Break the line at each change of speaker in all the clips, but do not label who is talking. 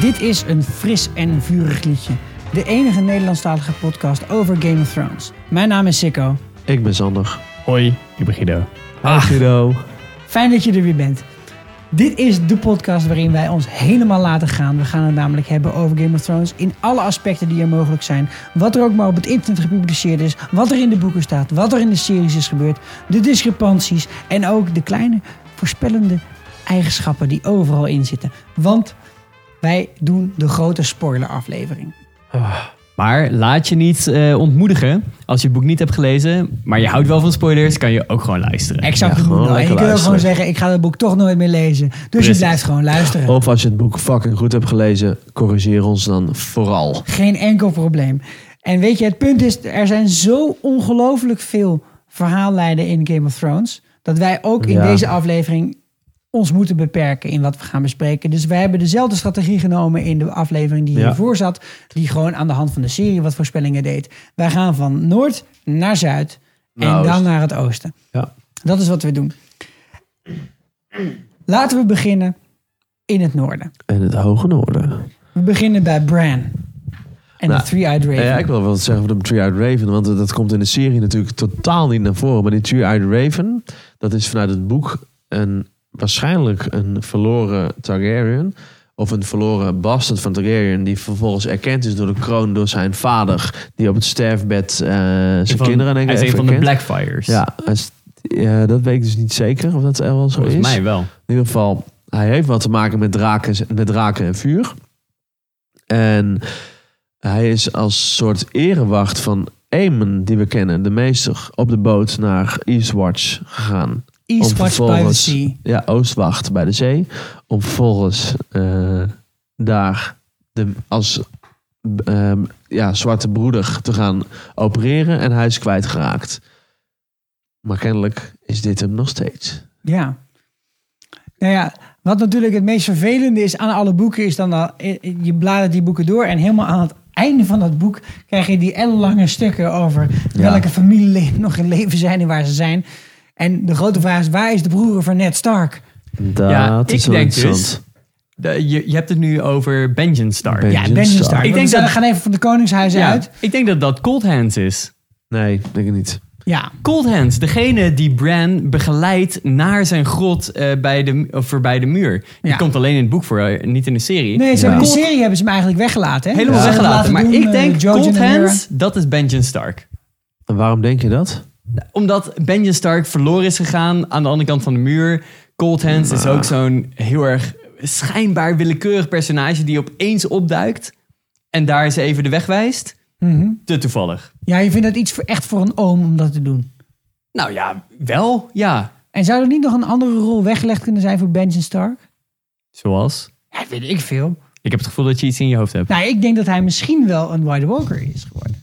Dit is een fris en vurig liedje. De enige Nederlandstalige podcast over Game of Thrones. Mijn naam is Sikko.
Ik ben Sander.
Hoi, ik ben Guido.
Ah. Guido.
Fijn dat je er weer bent. Dit is de podcast waarin wij ons helemaal laten gaan. We gaan het namelijk hebben over Game of Thrones in alle aspecten die er mogelijk zijn. Wat er ook maar op het internet gepubliceerd is, wat er in de boeken staat, wat er in de series is gebeurd, de discrepanties en ook de kleine voorspellende eigenschappen die overal in zitten. Want wij doen de grote spoileraflevering.
Maar laat je niet eh, ontmoedigen als je het boek niet hebt gelezen. Maar je houdt wel van spoilers, kan je ook gewoon luisteren.
Exact.
Ja,
de boek.
gewoon
en je
lekker
kunt ook gewoon
luisteren.
zeggen, ik ga dat boek toch nooit meer lezen. Dus je
Precies.
blijft gewoon luisteren.
Of als je het boek fucking goed hebt gelezen, corrigeer ons dan vooral.
Geen enkel probleem. En weet je, het punt is, er zijn zo ongelooflijk veel verhaallijnen in Game of Thrones. Dat wij ook in
Ja.
deze aflevering ons moeten beperken in wat we gaan bespreken. Dus wij hebben dezelfde strategie genomen in de aflevering die
Ja.
hiervoor zat. Die gewoon aan de hand van de serie wat voorspellingen deed. Wij gaan van noord naar zuid en
Naar
dan
oost.
naar het oosten.
Ja.
Dat is wat we doen. Laten we beginnen in het noorden.
En het hoge noorden.
We beginnen bij Bran. En
Nou,
de Three-Eyed Raven.
Ja, ik wil wel wat zeggen van de Three-Eyed Raven, want dat komt in de serie natuurlijk totaal niet naar voren. Maar die Three-Eyed Raven, dat is vanuit het boek een, waarschijnlijk een verloren Targaryen. Of een verloren bastard van Targaryen, die vervolgens erkend is door de kroon door zijn vader. Die op het sterfbed eh, zijn
Van-
kinderen denk ik
Hij is
heeft
een van de
erkend.
Blackfires.
Ja, hij is- ja, dat weet ik dus niet zeker of dat er wel zo
volgens
is.
mij wel.
In ieder geval, hij heeft wat te maken met draken, met draken en vuur. En hij is als soort erewacht van Aemon, die we kennen, de meester, op de boot naar Eastwatch gegaan.
Eastwatch by the
vervolgens-
Sea.
Ja, Oostwacht bij de zee. Om vervolgens eh, daar de, als eh, ja, zwarte broeder te gaan opereren. En hij is kwijtgeraakt. Maar kennelijk is dit hem nog steeds.
Ja. Nou ja, wat natuurlijk het meest vervelende is aan alle boeken, is dan dat eh, je bladert die boeken door en helemaal aan het einde van dat boek krijg je die ellenlange stukken over
Ja.
welke familieleden nog in leven zijn en waar ze zijn. En de grote vraag is, waar is de broer van Ned Stark?
Dat
Ja, ik
is wel
denk dus-
interessant.
De- je, je hebt het nu over Benjen Stark.
Ben-
Ja,
Benjen
Benjen Stark.
Stark.
Ik
Ik
denk
denk
dat... We
dat-
gaan even van de koningshuizen
Ja,
uit.
Ik denk dat dat Cold Hands is.
Nee, denk ik niet.
Ja.
Cold Hands, degene die Bran begeleidt naar zijn grot eh, bij de, of voorbij de muur. Die
Ja.
komt alleen in het boek voor, eh, niet in de serie.
Nee, ze
Ja.
hebben in de serie hebben ze hem eigenlijk weggelaten. Hè?
Helemaal
Ze hebben
weggelaten.
laten
Maar
doen,
ik
eh,
denk
Jojen
Cold
en Mira.
Hands, dat is Benjen Stark.
En waarom denk je dat?
Omdat Benjen Stark verloren is gegaan aan de andere kant van de muur. Cold Hands is ook zo'n heel erg schijnbaar willekeurig personage die opeens opduikt. En daar eens even de weg wijst.
Mhm.
Te toevallig.
Ja, je vindt dat iets voor, echt voor een oom om dat te doen.
Nou ja, wel, ja.
En zou er niet nog een andere rol weggelegd kunnen zijn voor Benjen Stark?
Zoals?
Ja, weet ik veel.
Ik heb het gevoel dat je iets in je hoofd hebt.
Nou, ik denk dat hij misschien wel een White Walker is geworden.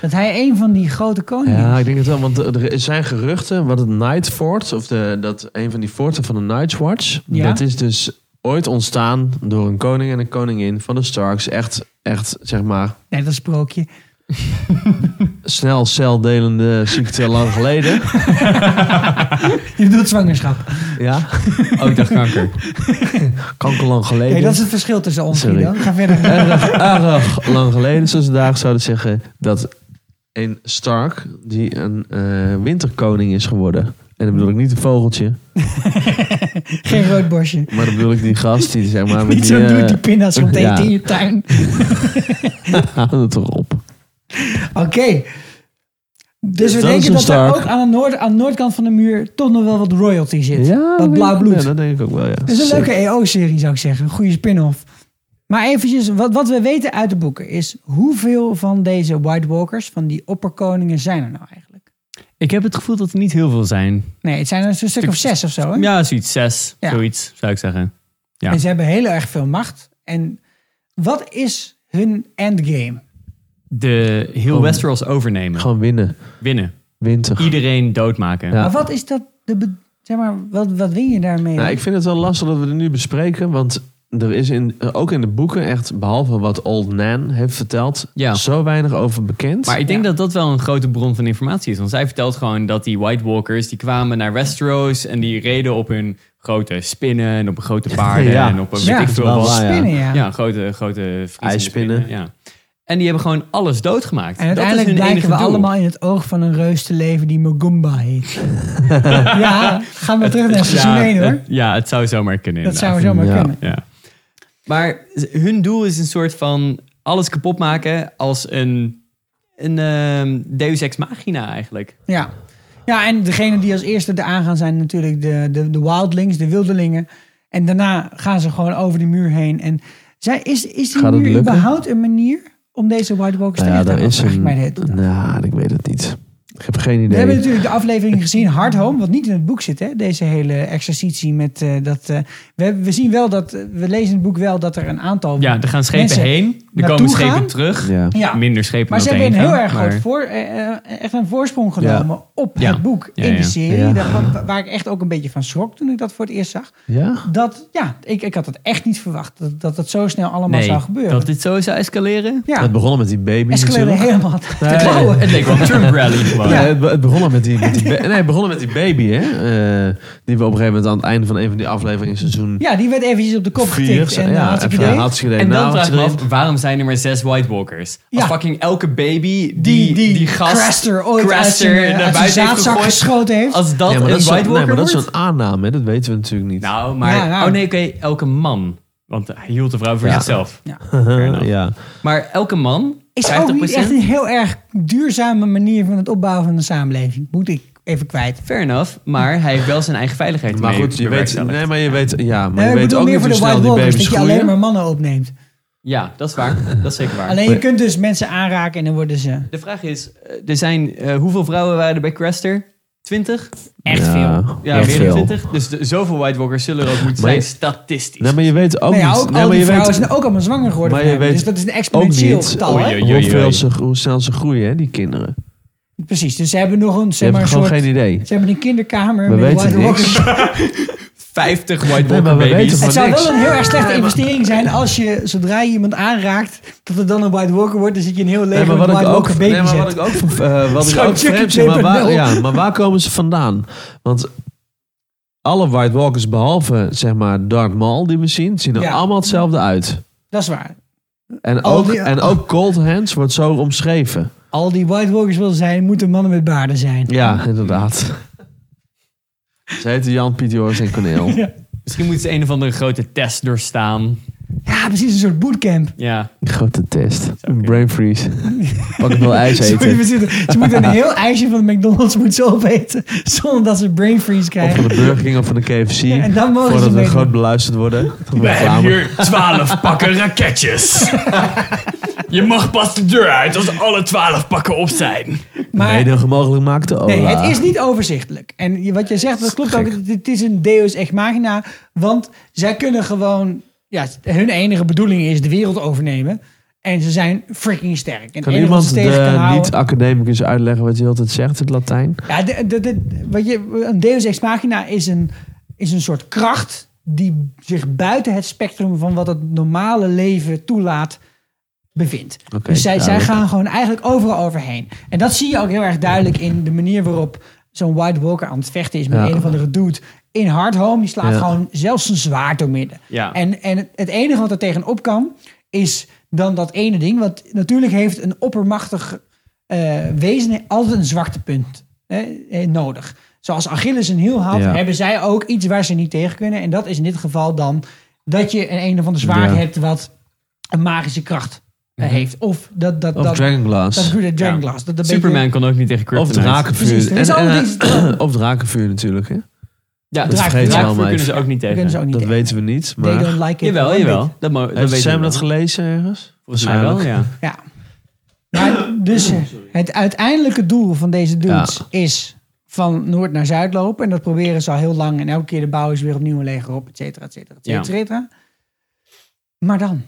Dat hij een van die grote koningen
Ja,
is.
ik denk het wel, want er er zijn geruchten wat het Night Fort, of de, dat een van die forten van de Night's Watch,
Ja.
dat is dus ooit ontstaan door een koning en een koningin van de Starks. Echt, echt zeg maar,
Net als sprookje.
snel celdelende ziekte lang geleden.
Je bedoelt zwangerschap.
Ja,
Oh, ik dacht kanker.
kanker lang geleden.
Nee, dat is het verschil tussen ons,
Sorry.
Guido. Ga verder.
erg, erg lang geleden, zoals ze daar zouden zeggen, dat een Stark, die een eh, winterkoning is geworden. En dan bedoel ik niet een vogeltje,
Geen rood borstje.
maar dan bedoel ik die gast die zeg maar... met
Niet zo'n
eh,
dude die pinda's komt
ja.
eten in je tuin.
Haal het erop.
Oké. Dus we
Dat is
denken
een
dat er
Stark.
ook aan de, noord, aan de noordkant van de muur toch nog wel wat royalty zit.
dat
wat blauw
denk-
bloed.
Ja, dat denk ik ook wel, ja.
Dat is een leuke EO-serie, zou ik zeggen. Een goede spin-off. Maar eventjes, wat, wat we weten uit de boeken is... hoeveel van deze White Walkers, van die opperkoningen, zijn er nou eigenlijk?
Ik heb het gevoel dat er niet heel veel zijn.
Nee, het zijn er zo'n stuk of zes of zo. Hè?
Ja, zoiets. Zes.
Ja.
Zoiets, zou ik zeggen. ja.
En ze hebben heel erg veel macht. En wat is hun endgame?
De heel
Om-
Westeros overnemen.
Gewoon winnen.
Winnen.
Winter.
Iedereen doodmaken.
Ja.
Maar wat is dat... De be- zeg maar, wat, wat win je daarmee?
Nou, ik vind het wel lastig dat we het nu bespreken, want er is in, ook in de boeken echt, behalve wat Old Nan heeft verteld,
Ja.
zo weinig over bekend.
Maar ik denk
Ja.
dat dat wel een grote bron van informatie is. Want zij vertelt gewoon dat die White Walkers die kwamen naar Westeros en die reden op hun grote spinnen en op hun grote paarden
Ja.
en op een
Ja,
weet ik veel
wel
wat.
waar, ja.
Spinnen, ja.
Ja, grote, grote Friese
IJsspinnen.
spinnen, Ja. En die hebben gewoon alles doodgemaakt.
En
dat is
uiteindelijk
hun enige
blijken we
doel.
allemaal in het oog van een reus te leven die Mogumba heet. ja, gaan we terug naar seizoen
ja,
1 hoor.
het- ja, het zou zomaar kunnen.
Dat
inderdaad.
zou zomaar
Ja.
kunnen.
Ja. Maar z- hun doel is een soort van alles kapot maken als een, een ehm, deus ex machina eigenlijk.
Ja. ja, en degene die als eerste er aan gaan zijn natuurlijk de, de, de wildlings, de wildelingen. En daarna gaan ze gewoon over de muur heen. En zij, is, is die
Gaat het
muur
lukken?
überhaupt een manier om deze White Walkers
Nou
te redden?
ja, daar
Dat
is
vraag ik
een...
mij de hele tijd af.
Nou, ik weet het niet. Ik heb geen
We
idee.
hebben natuurlijk de aflevering gezien, Hard Home, wat niet in het boek zit. Hè? Deze hele exercitie met eh, dat... eh, we, hebben- we zien wel dat, eh, we lezen in het boek wel dat er een aantal...
Ja, er gaan schepen
Mensen
heen, er
naartoe
komen schepen
gaan.
terug.
Ja.
Ja.
Minder schepen
Maar ze
dan
hebben een
heen
heel
gaan,
erg groot
maar-
voor, eh, eh, echt een voorsprong genomen op
Ja.
het boek
Ja,
in
ja.
de serie.
Ja.
Dat- wa- waar ik echt ook een beetje van schrok toen ik dat voor het eerst zag.
Ja?
Dat, ja, ik, ik had het echt niet verwacht. Dat dat, het zo snel allemaal
Nee,
zou gebeuren.
dat dit zo zou escaleren.
ja, Oh.
Het begon al met die baby
escaleerde
natuurlijk.
helemaal te
Nee.
klauwen.
Het leek wel een Trump rally gewoon.
Ja, het be- het begon al met die, met die, ba- nee, het begon al met die baby, hè? eh, die we op een gegeven moment aan het einde van een van die afleveringen in seizoen
Ja, die werd eventjes op de kop
4...
getikt. En ja, had ik
ja,
idee.
had ze
En dan
Nou,
vraag ik me
had ze
af, waarom zijn er maar zes White Walkers? Als
Ja.
fucking elke baby
die,
die,
die,
gast
Craster ooit uit
Craster
zijn, eh, uit
naar
zijn
buiten heeft
zaadzak
gegooid,
geschoten heeft.
Als dat
ja,
een
maar dat, is
White
zo'n-
Walker
nee, maar dat is
wordt?
zo'n aanname, hè? dat weten we natuurlijk niet.
Nou, maar...
Ja, nou.
Oh nee, oké, elke man. Want hij hield de vrouw voor
Ja.
zichzelf.
Ja.
Fair enough.
ja.
Maar elke man,
is
50%...
ook niet echt een heel erg duurzame manier van het opbouwen van de samenleving. Moet ik even kwijt.
Fair enough, maar hij heeft wel zijn eigen veiligheid
Maar
mee
goed, je weet,
bewerkstelligd.
nee, maar je weet, ja, maar
Nee, Eh,
je
ik
weet
bedoel
ook
meer
niet
voor
hoe
de White
snel die
Walkers, dat
baby's
je alleen
groeien.
maar mannen opneemt.
Ja, dat is waar. dat is zeker waar.
Alleen je kunt dus mensen aanraken en dan worden ze
De vraag is, eh, er zijn... eh, hoeveel vrouwen waren er bij Craster? 20?
echt
Ja.
veel.
Ja,
Echt
meer dan
veel.
20. Dus de- zoveel White Walkers zullen er ook moeten
Maar je-
zijn, statistisch.
Nee, maar je weet ook
Nou ja,
niet.
ook
nee,
al
maar
die
je
vrouwen
weet
zijn ook allemaal zwanger geworden.
Maar je
van hem.
weet
dus dat is een
ook
exponentieel
niet
getal. hè?
Oei, oei.
hoeveel ze, hoe snel ze groeien, hè, die kinderen.
Precies, dus ze hebben nog een,
Je
zeg
hebt
maar, een
gewoon
soort,
geen idee.
ze hebben een kinderkamer
We
met
weten
White
niks.
Walkers.
50 White
Nee,
Walker
maar we
baby's.
weten van-
Het zou
niks.
wel een heel erg slechte investering zijn als je, zodra je iemand aanraakt, dat het dan een White Walker wordt. Dan zit je een heel
Nee,
leger
maar
met
wat ik
White
ook,
Walker
nee,
baby's
maar wat
hebt.
ik ook, eh, wat ik
Zo'n
ook
Chucky
vreemd vind, maar waar,
2.0.
ja, maar waar komen ze vandaan? Want alle White Walkers, behalve zeg maar Darth Maul die we zien, zien er
Ja.
allemaal hetzelfde uit.
Dat is waar.
En
Al
ook,
die-
en ook Cold Hands wordt zo omschreven.
Al die White Walkers wil zijn, moeten mannen met baarden zijn.
Ja, inderdaad. Ze heten Jan, Piet, Joris en Corneel.
Misschien moeten ze een of andere grote test doorstaan.
Ja, precies, een soort bootcamp.
Ja.
Grote test.
kunnen.
Brain freeze. Pak ik wel ijs
Ze moeten,
eten.
bezitten- ze moeten een heel ijsje van de McDonald's moeten ze opeten, zonder dat ze brain freeze
Of
krijgen.
van de Burger King of van de KFC.
en dan mogen
voordat
ze
we
meedoen.
groot beluisterd worden. Van
We hebben
reclame.
hier twaalf pakken raketjes. Je mag pas de deur uit als alle twaalf pakken op zijn.
Maar,
Mede mogelijk maakte Ola.
Nee, het is niet overzichtelijk. En je- wat jij zegt, dat klopt ook. Het- Het is een deus ex machina. Want zij kunnen gewoon... Ja, hun enige bedoeling is de wereld overnemen. En ze zijn freaking sterk. En
Kan
het enige wat
iemand
ze tegen kan
de
houden-
niet-academicus uitleggen wat je altijd zegt in het Latijn?
Ja, de, de, de- wat je, een deus ex machina is een, is een soort kracht... die zich buiten het spectrum van wat het normale leven toelaat bevindt.
Oké,
dus zij, zij
duidelijk.
gaan gewoon eigenlijk overal overheen. En dat zie je ook heel erg duidelijk in de manier waarop zo'n White Walker aan het vechten is met
Ja.
een of andere dude. In Hard Home, die slaat
Ja.
gewoon zelfs zijn zwaard doormidden.
Ja.
En, en het, het enige wat er tegenop kan, is dan dat ene ding. Want natuurlijk heeft een oppermachtig eh, wezen altijd een zwaktepunt hè, eh, nodig. Zoals Achilles een hiel had,
Ja.
hebben zij ook iets waar ze niet tegen kunnen. En dat is in dit geval dan dat je een een of ander zwaard
Ja. Mhm.
hebt wat een magische kracht eh, heeft. Of dat... dat,
Of
dat dat is
Dragonglass.
goed, dat Dragon
Ja.
Glass. Dat, dat
Superman kon ook niet tegen
Of
Kryptonite.
Precies,
drakenvuur.
er is
En- en,
al
eh,
deze-
of drakenvuur natuurlijk, hè?
Ja,
Dat
draak,
vergeten we
draakvuur
allemaal
kunnen ze ook niet
Draken kunnen
tegen.
ze Oh, ook niet
Dat
tegen.
weten we niet.
They
Maar
don't like it.
Jawel,
one
jawel.
bit.
Dat, mo- dat
heeft
weten
Sam
we
dat
wel.
gelezen ergens?
Volgens mij wel, ja.
Ja. Maar dus eh, het uiteindelijke doel van deze dudes is van noord naar zuid lopen. En dat proberen ze al heel lang. En elke keer de bouw is weer opnieuw een leger op, et cetera, et cetera, et cetera, et
Ja.
cetera. Maar dan?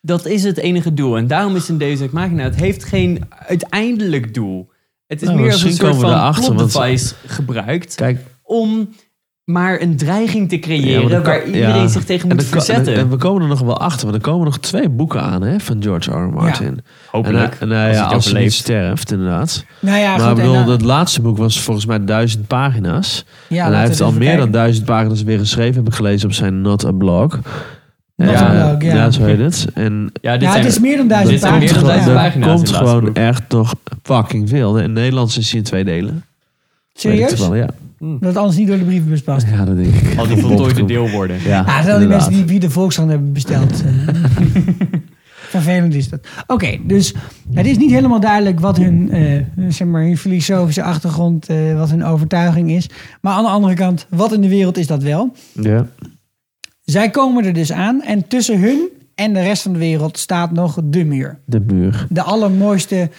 Dat is het enige doel. En daarom is een Deus Ex Machina. Het heeft geen uiteindelijk doel. Het is
Nou,
meer als een
misschien
soort
komen we
van
erachter, want-
plot device gebruikt
Kijk,
om maar een dreiging te
Ja,
creëren
maar dat
waar
kan-
iedereen
ja.
zich
En,
tegen moet
dat kan-
verzetten.
en- en we komen er nog wel achter, want er komen nog twee boeken aan hè, van George R. R. Martin.
Hopelijk.
En, hij- en hij-
als
ja,
hij
als hij niet
overleeft.
sterft, inderdaad.
Nou ja,
maar
goed,
ik
en
bedoel,
dan-
dat laatste boek was volgens mij duizend pagina's.
ja,
en hij
laten
heeft
we
al
het
meer
even
dan
kijken.
duizend pagina's weer geschreven, heb ik gelezen op zijn Not a Blog.
Not a
Eh,
Blog, ja.
zo heet het. En
ja, dit
Ja,
zijn,
het is meer dan duizend
dit zijn meer
pagina's.
dan
gewoon-
duizend
ja.
dat
pagina's
komt
in het laatste
gewoon
boek.
echt nog fucking veel. In het Nederlands is hij in twee delen. Weet ik
Serieus?
wel, ja.
Dat het anders niet door de brievenbus past.
ja, dat denk ik.
al die voltooide deelwoorden.
Ja,
Ah, het zijn al die mensen die, die de Volkskrant hebben besteld. Eh, Vervelend is dat. Oké, dus het is niet helemaal duidelijk wat hun, eh, zeg maar, hun filosofische achtergrond, eh, wat hun overtuiging is. Maar aan de andere kant, wat in de wereld is dat wel?
Ja.
Zij komen er dus aan en tussen hun en de rest van de wereld staat nog de muur.
De muur.
De allermooiste,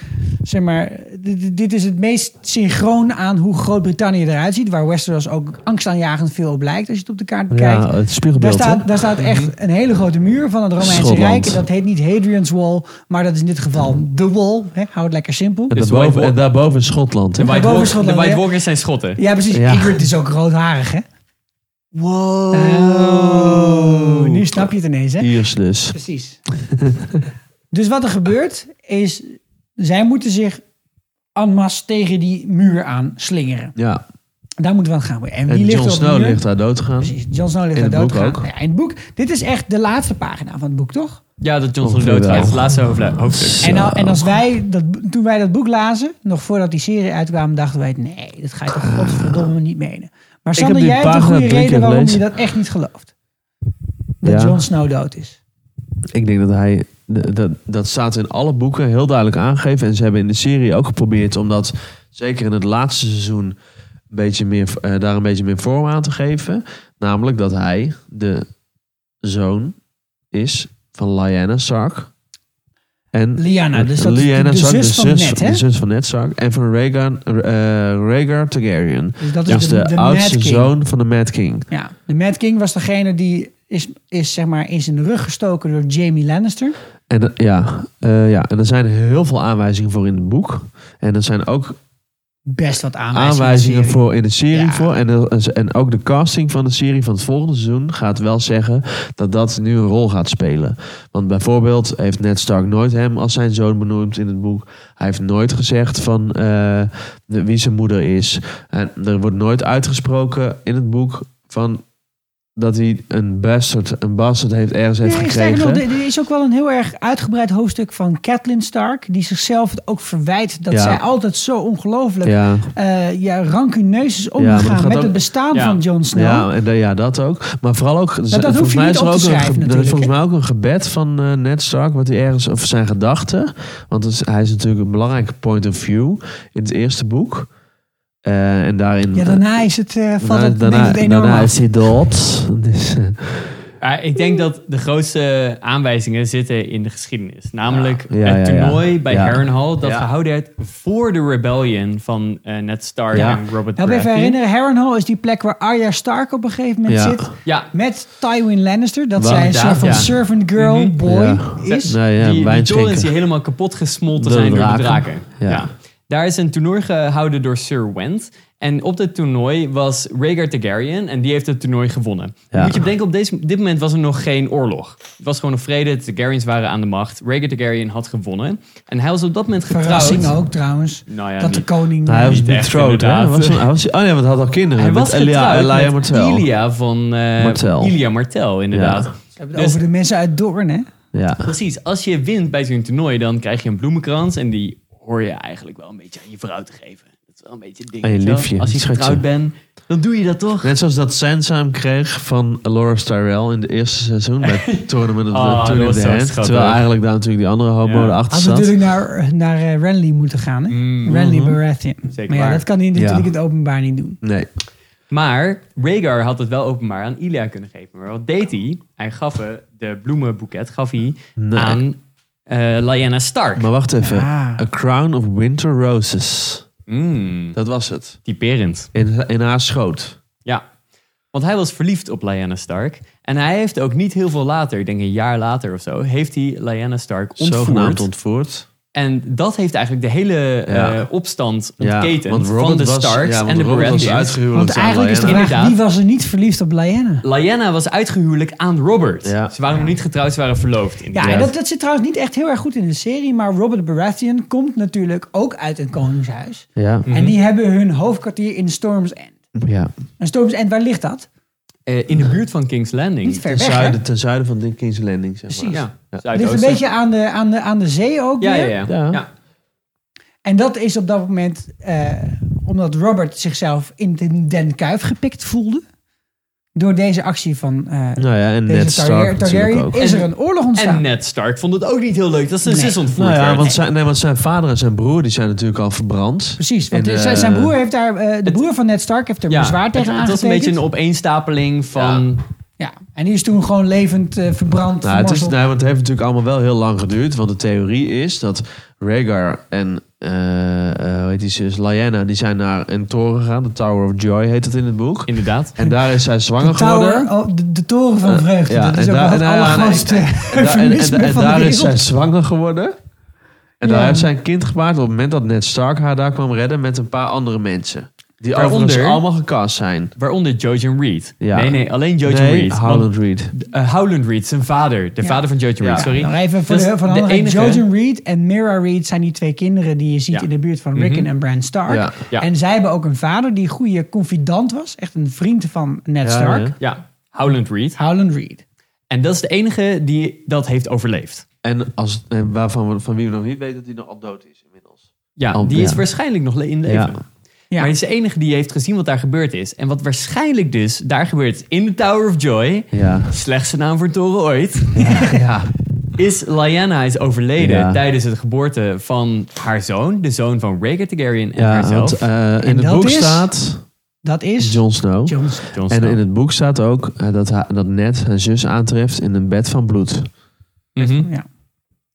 zeg maar, dit- dit- dit is het meest synchroon aan hoe Groot-Brittannië eruit ziet. Waar Westeros ook angstaanjagend veel op lijkt als je het op de kaart bekijkt.
Ja, het
Daar
spiegelbeeld. hè? Mhm.
staat, daar staat echt een hele grote muur van het Romeinse
Schotland.
Rijk. En dat heet niet Hadrian's Wall, maar dat is in dit geval de Wall. Hè? Hou het lekker simpel.
En
Dus
daarboven,
White-
en daarboven is Schotland. hè?
De White,
boven
Walk-
Schotland,
de White
hè?
Walkers zijn schotten.
Ja, precies.
Ja.
Ingrid is ook roodharig, hè?
Wow.
Eh. Oh, nu snap je het ineens, hè?
Iers dus.
Precies. dus wat er gebeurt is, zij moeten zich en masse tegen die muur aan slingeren.
Ja.
Daar moeten we aan gaan. En wie ligt
En
er
Jon
op de
Snow
muur?
ligt daar dood te gaan.
Precies, Jon Snow ligt
In
daar
het
dood
boek ook.
Ja, in het boek. Dit is echt de laatste pagina van het boek, toch?
Ja, dat Johnson
Ongeveer
dood
wel.
gaat. Het laatste hoofdla- hoofdstuk.
En, nou, en als wij dat, toen wij dat boek lazen, nog voordat die serie uitkwam, dachten wij: nee, dat ga je toch godverdomme niet menen. Maar
heb
Sander,
die
jij hebt een
pagina
goede
drie
reden
keer
waarom
gelezen.
je dat echt niet gelooft. Dat
Ja.
Jon Snow dood is.
Ik denk dat hij. d- Dat, dat staat in alle boeken heel duidelijk aangegeven. En ze hebben in de serie ook geprobeerd om dat zeker in het laatste seizoen een beetje meer, eh, daar een beetje meer vorm aan te geven. Namelijk dat hij de zoon is van Lyanna Stark. En
Lyanna, dus dat is
Lyanna
de, de
Stark,
zus van
zus,
Ned, hè?
de zus van Ned Stark. En van Rhaegar, eh, Rhaegar Targaryen.
Dus dat is
Dat is
de,
de,
de
oudste
Mad King.
zoon van de Mad King.
Ja, de Mad King was degene die is, is zeg maar in zijn rug gestoken door Jamie Lannister.
En, dat- ja, eh, ja, en er zijn heel veel aanwijzingen voor in het boek. En er zijn ook
Best wat aanwijzingen.
aanwijzingen
in de serie.
voor in de serie
Ja.
voor. En, de- en ook de casting van de serie van het volgende seizoen gaat wel zeggen dat dat nu een rol gaat spelen. Want bijvoorbeeld heeft Ned Stark nooit hem als zijn zoon benoemd in het boek. Hij heeft nooit gezegd van eh, de- wie zijn moeder is. En er wordt nooit uitgesproken in het boek van dat hij een bastard, een bastard heeft ergens heeft
Nee, sterker nog,
gekregen.
er er is ook wel een heel erg uitgebreid hoofdstuk van Catelyn Stark. Die zichzelf ook verwijt dat
Ja.
zij altijd zo ongelooflijk
ja.
eh ja, rancuneus is
maar dat
omgegaan
gaat
met
ook-
het bestaan
Ja.
van Jon Snow.
Ja, en, da- ja, dat ook. Maar vooral ook. z-
Nou, dat hoef
volgens
je
mij
niet
is er
op te
ook een
schrijven
ge- er
natuurlijk,
is volgens mij ook een gebed van eh, Ned Stark. Wat hij ergens. Of zijn gedachten. Want het is- hij is natuurlijk een belangrijk point of view. In het eerste boek. Eh, en daarin.
Ja, daarna is het, eh valt het, neemt het enorm
daarna
af.
is hij dood. Dus, eh,
Ja, Ah, ik denk
Hmm.
dat de grootste aanwijzingen zitten in de geschiedenis. Namelijk
Ja, ja,
het
ja, ja.
toernooi bij
Ja.
Harrenhal dat
Ja.
gehouden werd voor de rebellion van eh, Ned Stark
Ja.
en Robert
Help even
Baratheon.
Nou, herinneren, Harrenhal is die plek waar Arya Stark op een gegeven moment
Ja.
zit.
Ja,
Met Tywin Lannister, dat
Wel,
zij een soort
inderdaad,
van
ja.
servant girl,
Mhm.
boy
Ja.
is.
nee, ja,
die, die
wijn
torens die
schenken.
helemaal kapot
Door
gesmolten
de
zijn door de
draken.
draken.
Ja.
Ja. Daar is een toernooi gehouden door Sir Went. En op dat toernooi was Rhaegar Targaryen en die heeft het toernooi gewonnen.
Ja.
Moet je bedenken, op deze, dit moment was er nog geen oorlog. Het was gewoon een vrede, de Targaryens waren aan de macht. Rhaegar Targaryen had gewonnen. En hij was op dat moment getrouwd.
Verrassing ook trouwens.
Nou ja,
dat de
niet.
koning...
Hij was
Niet echt,
betrothed, hè? Hij
inderdaad.
was, hij was, oh nee, want hij had al kinderen.
Hij
met
was
Elia,
getrouwd
Elia
met
Martel.
Ilia van eh,
Martel.
Ilia Martel, inderdaad.
Ja.
Ze hebben het eh, over de mensen uit Doorn, hè?
Ja.
Precies, als je wint bij zo'n toernooi, dan krijg je een bloemenkrans. En die hoor je eigenlijk wel een beetje aan je vrouw te geven. Dat is wel een beetje het ding.
Aan je
weet wel.
liefje,
Als je
het schatje.
getrouwd bent, dan doe je dat toch?
Net zoals dat Sansa hem kreeg van Laura Tyrell in het eerste seizoen bij Tournament of
Ah,
the, Turn
dat
of
was
the
zo
Hand.
schattig.
Terwijl eigenlijk daar natuurlijk die andere homo
Ja.
erachter
Had
zat.
Ah, natuurlijk naar, naar eh, Renly moeten gaan, hè?
Mm,
Renly
mhm.
Baratheon.
Zeker
maar ja,
waar.
dat kan hij natuurlijk
Ja.
in het openbaar niet doen.
Nee.
Maar Rhaegar had het wel openbaar aan Ilia kunnen geven. Maar wat deed hij? Hij gaf eh, de bloemenboeket gaf hij
Nee.
aan eh Lyanna Stark.
Maar wacht even.
Ah.
A Crown of Winter Roses.
Mm,
Dat was het.
typerend.
In, in haar schoot.
Ja, want hij was verliefd op Lyanna Stark. En hij heeft ook niet heel veel later, ik denk een jaar later of zo, heeft hij Lyanna Stark ontvoerd.
Zogenaamd ontvoerd.
En dat heeft eigenlijk de hele eh,
Ja.
opstand
Ja,
ontketend
want
van
Robert
de
was-
Starks
ja, want
en de
Robert was
Baratheons.
uitgehuwelijkd
Want
aan
eigenlijk is de
Lyanna.
vraag,
Inderdaad.
wie was er niet verliefd op Lyanna?
Lyanna was uitgehuwelijk aan Robert.
Ja.
Ze waren nog niet getrouwd, ze waren verloofd.
Ja,
inderdaad.
en dat, dat zit trouwens niet echt heel erg goed in de serie. Maar Robert Baratheon komt natuurlijk ook uit een koningshuis.
Ja.
Mhm.
En die Mm. hebben hun hoofdkwartier in Storm's End.
ja.
En Storm's End, waar ligt dat?
Eh, in de buurt van King's Landing.
Niet ver
Ten,
weg, hè?
zuiden, ten zuiden van de King's Landing, zeg maar.
Precies.
Ja,
Ligt een
Zuidoosten.
beetje aan de, aan de, aan de zee ook
Ja, ja,
weer.
ja.
Ja.
ja.
En dat is op dat moment eh, omdat Robert zichzelf in den, den kuif gepikt voelde. Door deze actie van eh,
Nou ja, en
deze
Ned
Targaryen-
Stark natuurlijk
Targaryen
ook. eh,
is
En-
er een oorlog ontstaan.
En Ned Stark vond het ook niet heel leuk dat zijn
Nee.
zus ontvoerd
Nou ja,
werd.
want zijn, nee, want zijn vader en zijn broer die zijn natuurlijk al verbrand.
Precies, want
En,
z-
eh,
zijn broer heeft daar, eh, de
het-
broer van Ned Stark heeft er
Ja,
bezwaar tegen
het, het was een beetje een
aangetekend.
opeenstapeling van...
Ja, en die is toen gewoon levend eh, verbrand.
Nou, het, is,
vermorzeld.
nee, want het heeft natuurlijk allemaal wel heel lang geduurd. Want de theorie is dat Rhaegar en eh eh, hoe heet die zus, Lyanna, die zijn naar een toren gegaan. De Tower of Joy heet dat in het boek.
Inderdaad.
En daar is zij zwanger
de tower,
geworden.
oh, de, de toren van vreugde.
ja,
dat is
en
ook wel
daar-
het
en, eh,
allergrootste
En, daar- en- en-
eufemisme
en
van
daar
de
is zij
wereld.
zwanger geworden. En daar
Ja.
heeft zij een kind gebaard op het moment dat Ned Stark haar daar kwam redden met een paar andere mensen. Die
Waaronder-
overigens allemaal gecast zijn.
Waaronder Jojen Reed.
Ja.
Nee, nee, alleen Jojen
nee,
Reed. Want,
Howland Reed.
eh, Howland Reed, zijn vader. De
Ja.
vader van Jojen Reed, sorry.
Nou, even voor
Dat is
de, voor de,
de
andere-
enige-
Jojen Reed en Mira Reed zijn die twee kinderen die je ziet
Ja.
in de buurt van Rickon en Bran Stark.
Mhm. Ja.
Ja.
En zij hebben ook een vader die een goede confidant was. Echt een vriend van Ned
Ja,
Stark.
ja.
Ja, Howland Reed.
Howland Reed.
En dat is de enige die dat heeft overleefd.
En, als, en waarvan we, van wie we nog niet weten dat hij nog al dood is inmiddels.
Ja,
Oh,
die is
ja.
waarschijnlijk nog le- in leven.
Ja.
Ja.
Maar hij is de enige die heeft gezien wat daar gebeurd is. En wat waarschijnlijk dus daar gebeurd is in de Tower of Joy...
Ja.
slechtste naam voor toren ooit...
ja.
is Lyanna is overleden
Ja.
tijdens het geboorte van haar zoon. De zoon van Rhaegar Targaryen en
Ja,
haarzelf.
want eh, in
En
het
dat
boek
is-
staat
Dat is
Jon Snow.
Jon Snow.
Jon
En
Snow.
in het boek staat ook eh, dat, ha- dat Ned haar zus aantreft in een bed van bloed.
Mhm.
Ja.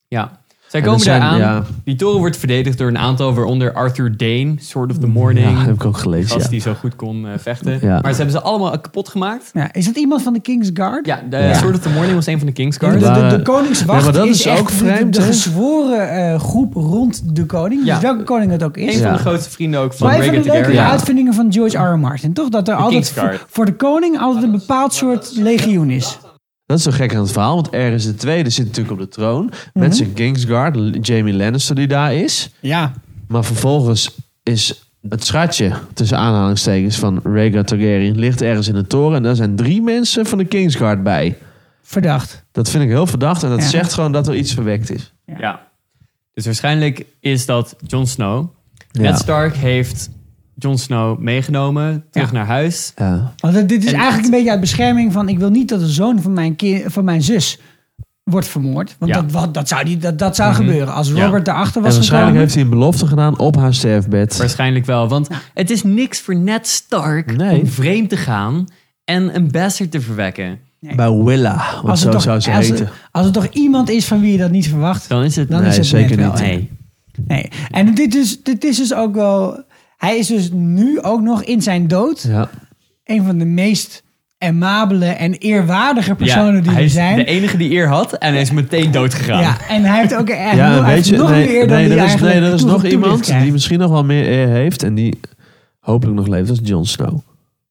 Ja. Zij
En
komen
dat zijn-
daar aan.
ja.
Die toren wordt verdedigd door een aantal, waaronder Arthur Dane, Sword of the Morning.
Mm, Ja, heb ik ook
de
gelezen.
gast
Ja.
die zo goed kon eh, vechten.
Ja.
Maar ze hebben ze allemaal kapot gemaakt.
Ja, is dat iemand van de Kingsguard?
Ja, de
Ja.
Sword of the Morning was een van de Kingsguard.
De,
Ja.
de, de koningswacht
Ja, maar dat
is,
is
echt
ook
de- de-
vreemd,
de,
hè?
gezworen eh, groep rond de koning.
Ja.
Dus welke koning het ook is.
Een van
Ja.
de grootste vrienden ook van
Maar een van
Rhaegar
de leuke
Targaryen.
Ja.
uitvindingen van George R. R. Martin, toch? Dat er altijd
Kingsguard.
voor, voor de koning altijd een bepaald soort legioen is.
Dat is zo gek aan het verhaal, want Ergens de Tweede zit natuurlijk op de troon.
Mhm.
Met zijn Kingsguard, Jamie Lannister die daar is.
Ja.
Maar vervolgens is het schatje, tussen aanhalingstekens, van Rhaegar Targaryen... ligt ergens in een toren en daar zijn drie mensen van de Kingsguard bij.
Verdacht.
Dat vind ik heel verdacht en dat
Ja.
zegt gewoon dat er iets verwekt is.
Ja. Dus waarschijnlijk is dat Jon Snow.
Ja.
Ned Stark heeft Jon Snow meegenomen, terug
Ja.
naar huis.
Ja.
Want het- dit is
En-
eigenlijk een beetje uit bescherming van... ik wil niet dat de zoon van mijn, ki- van mijn zus wordt vermoord. Want
Ja.
dat, wat, dat zou, die, dat, dat zou
Mhm.
gebeuren. Als
Ja.
Robert daarachter
En
was
waarschijnlijk
gekomen...
heeft hij een belofte gedaan op haar sterfbed.
Waarschijnlijk wel, want het is niks voor Ned Stark
Nee.
om vreemd te gaan en een bastard te verwekken.
Bij Willa, want
Als het,
zo
toch,
zou ze
als,
heten.
als er toch iemand is van wie je dat niet verwacht...
Dan is het...
Dan
Nee,
is het
zeker
net wel
niet.
één.
Nee.
Nee. En dit is, dit is dus ook wel... Hij is dus nu ook nog in zijn dood...
Ja.
een van de meest amabele en eerwaardige personen
Ja,
die
hij
er
is
zijn.
de enige die eer had en hij is meteen doodgegaan.
Ja, en hij heeft ook echt
Ja,
nog, hij
weet
heeft
je,
nog
nee,
meer dan
nee,
die
er is,
eigenlijk
nee, er is
toe-
nog
toelicht
iemand
krijgt.
die misschien nog wel meer eer heeft en die hopelijk nog leeft. Dat is Jon Snow.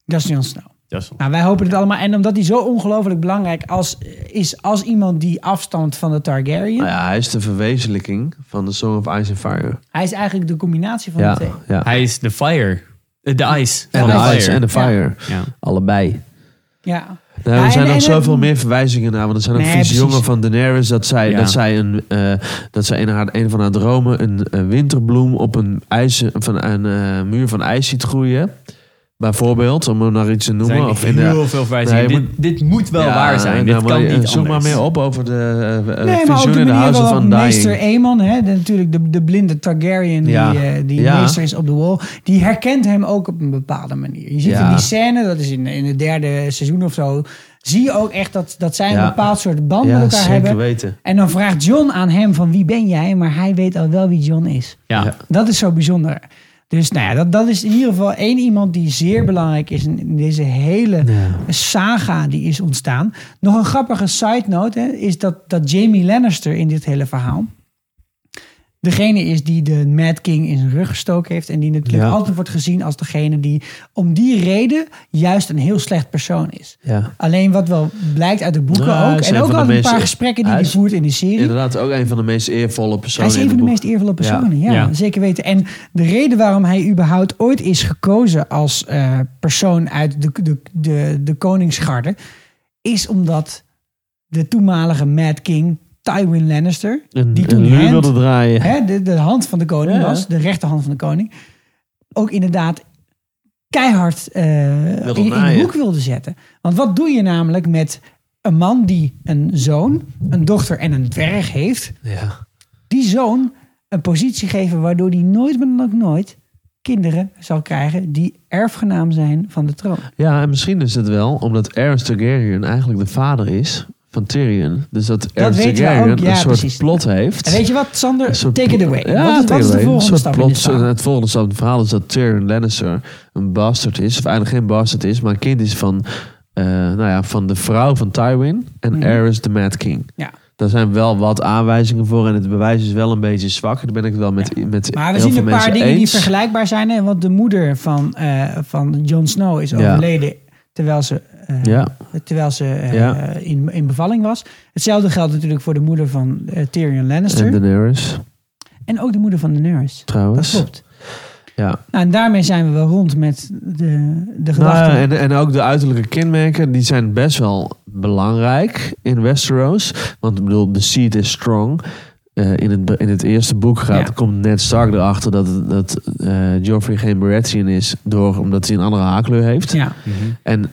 Dat is Jon Snow.
Dat is-
Nou, wij hopen het allemaal. En omdat hij zo ongelooflijk belangrijk als, is als iemand die afstamt van de Targaryen.
Nou ja, hij is de verwezenlijking van de Song of Ice and Fire.
Hij is eigenlijk de combinatie van de
Ja,
twee.
ja.
Hij is de fire. Eh, De ice.
En
Van
de
Fire.
Ice en de Fire.
Ja.
Allebei.
Ja.
Nou,
Ja,
er
en-
zijn
en-
nog zoveel meer verwijzingen naar. Want er zijn ook
Nee,
visioenen
precies.
van Daenerys. Dat zij,
Ja.
dat zij, een, eh, dat zij in haar, een van haar dromen een, eh, winterbloem op een, ijzer, van een eh, muur van ijs ziet groeien. Bijvoorbeeld, om er naar iets te
Er
noemen.
zijn
of in de-
heel veel verwijzingen.
Nee, je
dit, dit moet wel
Ja,
waar zijn.
nou,
dit
maar,
kan
eh,
niet anders.
Zoek maar meer op over de eh, eh,
Nee, maar ook
visioenen
de
in de
manier
huizen
waarop
van
meester
Dying.
Aemon, hè, de, natuurlijk de, de blinde Targaryen
Ja.
die, eh, die
Ja.
meester is op de wall, die herkent hem ook op een bepaalde manier. Je ziet
Ja.
in die scène, dat is in, in het derde seizoen of zo, zie je ook echt dat, dat zij een
Ja.
bepaald soort band met
Ja,
elkaar
zeker
hebben.
weten.
En dan vraagt John aan hem van wie ben jij, maar hij weet al wel wie John is.
Ja.
Ja.
Dat is zo bijzonder. Dus nou ja, dat, dat is in ieder geval één iemand die zeer belangrijk is in, in deze hele saga die is ontstaan. Nog een grappige side note hè, is dat, dat Jamie Lannister in dit hele verhaal. degene is die de Mad King in zijn rug gestoken heeft. En die natuurlijk
Ja.
altijd wordt gezien als degene die om die reden juist een heel slecht persoon is.
Ja.
Alleen wat wel blijkt uit de boeken
Nou, hij
ook.
is
En
een
ook
van de
uit een paar
meest-
gesprekken die hij
hij is-
voert in de serie.
Inderdaad, ook een van de meest eervolle
Hij
personen.
is een
in
van de
boek.
meest eervolle personen, ja.
Ja.
zeker weten. En de reden waarom hij überhaupt ooit is gekozen als eh, persoon uit de, de, de, de koningsgarde... is omdat de toenmalige Mad King Tywin Lannister...
Een,
die
een
toen
luur
hand-
wilde draaien.
hè, de, de hand van de koning
Ja.
was, de rechterhand van de koning... ook inderdaad keihard eh, in, in de
naaien.
hoek wilde zetten. Want wat doe je namelijk met een man die een zoon, een dochter en een dwerg heeft
Ja.
die zoon een positie geven waardoor die nooit, maar dan ook nooit kinderen zal krijgen die erfgenaam zijn van de troon.
ja, en misschien is het wel omdat Aerys Targaryen eigenlijk de vader is van Tyrion. Dus dat Aerys
weten we
Targaryen
ook, ja,
een soort
precies.
plot heeft.
En weet je wat, Sander?
Een soort-
Take it away.
Ja,
wat is, wat is de
take it away. Een
volgende
soort eh,
stap in
plot-
dit verhaal?
Het volgende stap in het verhaal is dat Tyrion Lannister een bastard is. Of eigenlijk geen bastard is, maar een kind is van, eh, nou ja, van de vrouw van Tywin. En
Mhm.
Aerys de Mad King.
Ja.
Daar zijn wel wat aanwijzingen voor. En het bewijs is wel een beetje zwak. Daar ben ik het wel met, met
Maar we
heel
zien
veel
een paar
mensen
dingen die
eens.
vergelijkbaar zijn. Hè? Want de moeder van, eh, van Jon Snow is
Ja.
overleden terwijl ze, eh,
Ja.
terwijl ze eh,
Ja.
in, in bevalling was. Hetzelfde geldt natuurlijk voor de moeder van eh, Tyrion Lannister.
En
En,
Daenerys,
ook de moeder van de nurse. Dat
trouwens.
klopt.
Ja.
Nou, en daarmee zijn we wel rond met de, de gedachten.
Nou, en, en ook de uiterlijke kenmerken, die zijn best wel belangrijk in Westeros. Want ik bedoel, de seed is strong. Eh, in, het, in het eerste boek gaat,
Ja.
komt Ned Stark erachter dat, dat eh, Joffrey geen Baratheon is, door, omdat hij een andere haarkleur heeft.
ja.
Mhm.
En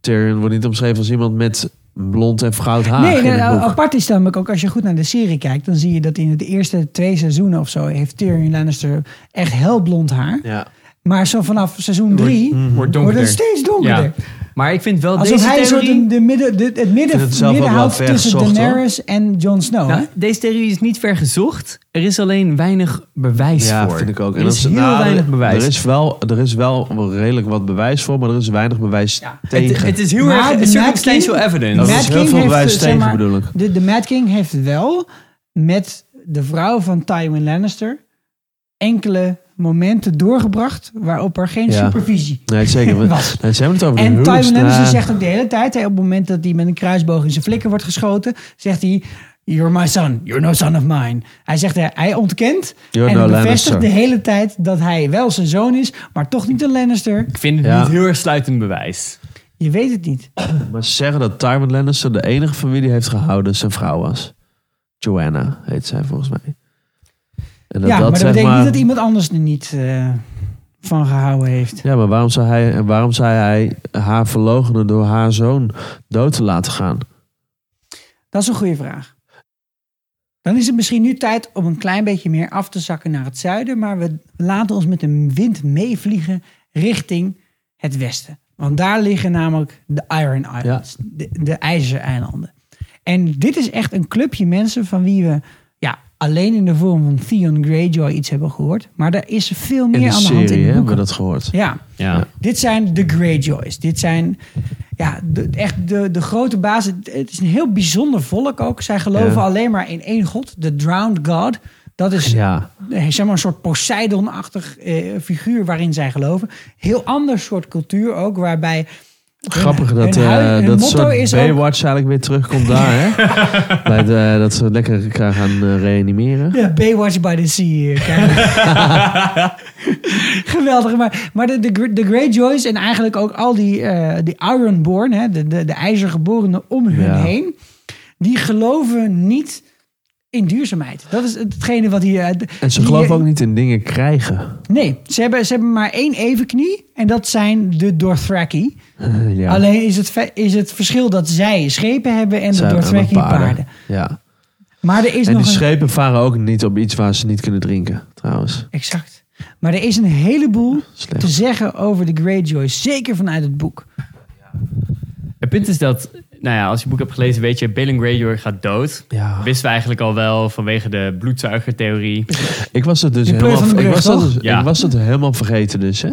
Tyrion wordt niet omschreven als iemand met blond en goud haar
Nee,
in
nou,
het boek.
apart is namelijk ook als je goed naar de serie kijkt, dan zie je dat in de eerste twee seizoenen of zo heeft Tyrion Lannister echt heel blond haar.
ja. Mhm.
Maar zo vanaf seizoen drie
Wordt
wordt het
donkerder.
steeds donkerder.
Maar ik vind wel
Alsof
deze
hij een soort
theorie...
een- de midden, de, het midden,
het zelf ook
midden
wel
houdt
ver
tussen
gezocht, hoor.
Daenerys en Jon Snow.
Nou,
hè?
deze theorie is niet ver gezocht. Er is alleen weinig bewijs
Ja,
voor.
vind ik ook.
Er is
dat-
heel
nou,
weinig bewijs.
Er is, wel, er is wel redelijk wat bewijs voor, maar er is weinig bewijs
Ja.
tegen.
het, het is heel
Maar de
erg
Mad
circumstantial
King-
evidence.
Dat
Mad
is heel
King
veel
heeft, eh,
bewijs
zeg
tegen,
maar,
bedoel ik.
De, de Mad King heeft wel met de vrouw van Tywin Lannister enkele momenten doorgebracht waarop er geen
Ja.
supervisie
Nee, zeker. We-
was.
Nee, ze hebben het over de
En Tywin
huwelijksnaam.
Lannister zegt ook de hele tijd, hè, op het moment dat hij met een kruisboog in zijn flikker wordt geschoten, zegt hij, you're my son, you're no son of mine. Hij zegt, hè, hij ontkent
You're
en
no
bevestigt
Lannister.
de hele tijd dat hij wel zijn zoon is, maar toch niet een Lannister.
Ik vind het
Ja.
niet heel erg sluitend bewijs.
Je weet het niet.
Maar ze zeggen dat Tywin Lannister de enige familie heeft gehouden zijn vrouw was. Joanna heet zij volgens mij. En
ja, maar dat
zeg
betekent niet dat iemand anders er niet eh, van gehouden heeft.
Ja, maar waarom zou, hij, en waarom zou hij haar verloochenen door haar zoon dood te laten gaan?
Dat is een goede vraag. Dan is het misschien nu tijd om een klein beetje meer af te zakken naar het zuiden, maar we laten ons met de wind meevliegen richting het westen. Want daar liggen namelijk de Iron Islands, de, de IJzereilanden. En dit is echt een clubje mensen van wie we ja, alleen in de vorm van Theon Greyjoy iets hebben gehoord. Maar er is veel meer
In de
aan de hand in
serie
de
hè, hebben we
boeken.
dat gehoord.
Ja,
Ja.
dit zijn de Greyjoys. Dit zijn ja, de, echt de, de grote bazen. Het is een heel bijzonder volk ook. Zij geloven
Ja.
alleen maar in één god, de Drowned God. Dat is
Dus Ja,
eh, zeg maar een soort Poseidon-achtig eh, figuur waarin zij geloven. Heel ander soort cultuur ook, waarbij... hun-
grappig dat,
hun hui-
eh
hun
dat
motto
soort
is ook-
Baywatch eigenlijk weer terugkomt daar. Hè? Bij de, dat ze lekker elkaar gaan eh, reanimeren.
Ja, Baywatch by the Sea. eh, kijk. Geweldig. Maar, maar de, de, Gre- de Greyjoys en eigenlijk ook al die, eh, die Ironborn, hè, de, de, de ijzergeborenen om hun
Ja.
heen, die geloven niet in duurzaamheid. Dat is hetgene wat hier... eh,
En ze
die-
geloven ook niet in dingen krijgen.
Nee, ze hebben, ze hebben maar één evenknie en dat zijn de Dothraki.
ja.
Alleen is het, ve- is het verschil dat zij schepen hebben en de
Zijn
Dothraki
allemaal
paarden.
Ja.
Maar er is
En
nog
die
een...
schepen varen ook niet op iets waar ze niet kunnen drinken, trouwens.
Exact. Maar er is een heleboel
Slecht.
te zeggen over de Greyjoys. Zeker vanuit het boek.
Het punt is dat, nou ja, als je het boek hebt gelezen, weet je, Balin Greyjoy gaat dood.
Ja.
Wisten we eigenlijk al wel vanwege de bloedzuigertheorie.
Ik was het dus
Die pleur
helemaal,
van de
ik
brug,
was dat
toch?
dus-
Ja.
ik was dat helemaal vergeten dus, hè?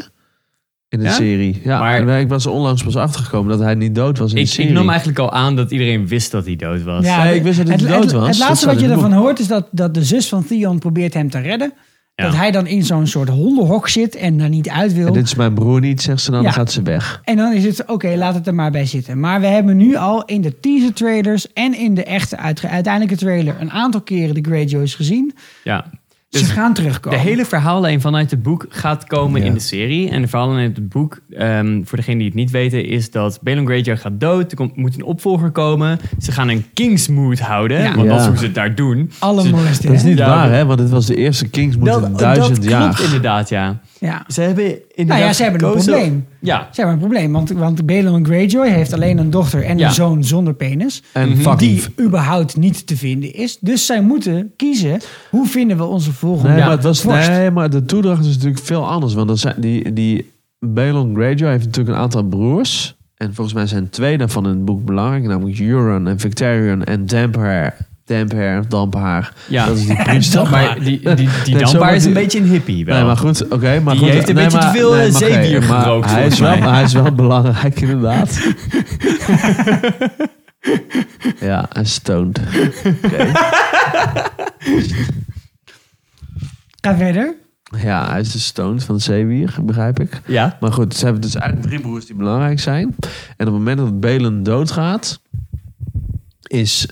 in de
Ja?
serie. Ja,
Maar-
maar ik was er onlangs pas achtergekomen dat hij niet dood was in de
Ik,
serie.
ik nam eigenlijk al aan dat iedereen wist dat hij dood was.
Ja,
Nee, ik wist dat hij
het,
dood
het- Het
was. Dat
laatste
staat
wat je
in het
ervan hoort is dat, dat de zus van Theon probeert hem te redden.
Ja.
Dat hij dan in zo'n soort hondenhok zit en daar niet uit wil.
En
En,
dit is mijn broer niet, zegt ze dan,
Ja.
dan gaat ze weg.
dan is het, oké, laat het er maar bij zitten. Maar we hebben nu al in de teaser trailers en in de echte uitge- uiteindelijke trailer... een aantal keren de Greyjoys gezien.
Ja.
Ze
Dus
gaan
de
terugkomen.
hele verhaallijn vanuit het boek gaat komen
Ja.
in de serie. En de verhaallijn uit het boek, ehm, voor degenen die het niet weten, is dat Balon Greyjoy gaat dood. Er komt, moet een opvolger komen. Ze gaan een kingsmood houden,
Ja.
want dat is
Ja.
hoe ze het daar doen.
Alle molesten.
Dat is niet
Ja,
waar,
dat-
hè? Want het was de eerste Kingsmoed in duizend
dat
jaar.
klopt inderdaad, ja.
Ja.
Ze hebben inderdaad
Nou ja, ze hebben een
gekozen-
probleem.
Ja,
Ze hebben een probleem, want, want Balon Greyjoy heeft alleen een dochter en
Ja.
een zoon zonder penis.
En
Mhm.
fucking...
die überhaupt niet te vinden is. Dus zij moeten kiezen, hoe vinden we onze volgende
Nee,
Ja,
maar het was,
worst.
nee, maar de toedracht is natuurlijk veel anders. Want dat zijn, die, die Balon Greyjoy heeft natuurlijk een aantal broers. En volgens mij zijn twee daarvan in het boek belangrijk. Namelijk Euron en Victarion en Damper. Damper, Damper.
Ja.
Dat is die priester.
maar die, die, die
zo
dankbaar
wordt
is een
die-
beetje een hippie wel.
Nee, maar goed, oké. maar
Die
goed,
heeft een
nee,
beetje
maar-
te veel, eh,
maar oké,
zeewier
maar
gerookt,
Hij
volgens
is, wel,
mij.
hij is wel belangrijk, inderdaad. ja, en stoned.
Ga verder.
Ja, hij is dus stoned van zeewier, begrijp ik.
Ja.
Maar goed, ze hebben dus eigenlijk drie broers die belangrijk zijn. En op het moment dat Belen doodgaat, is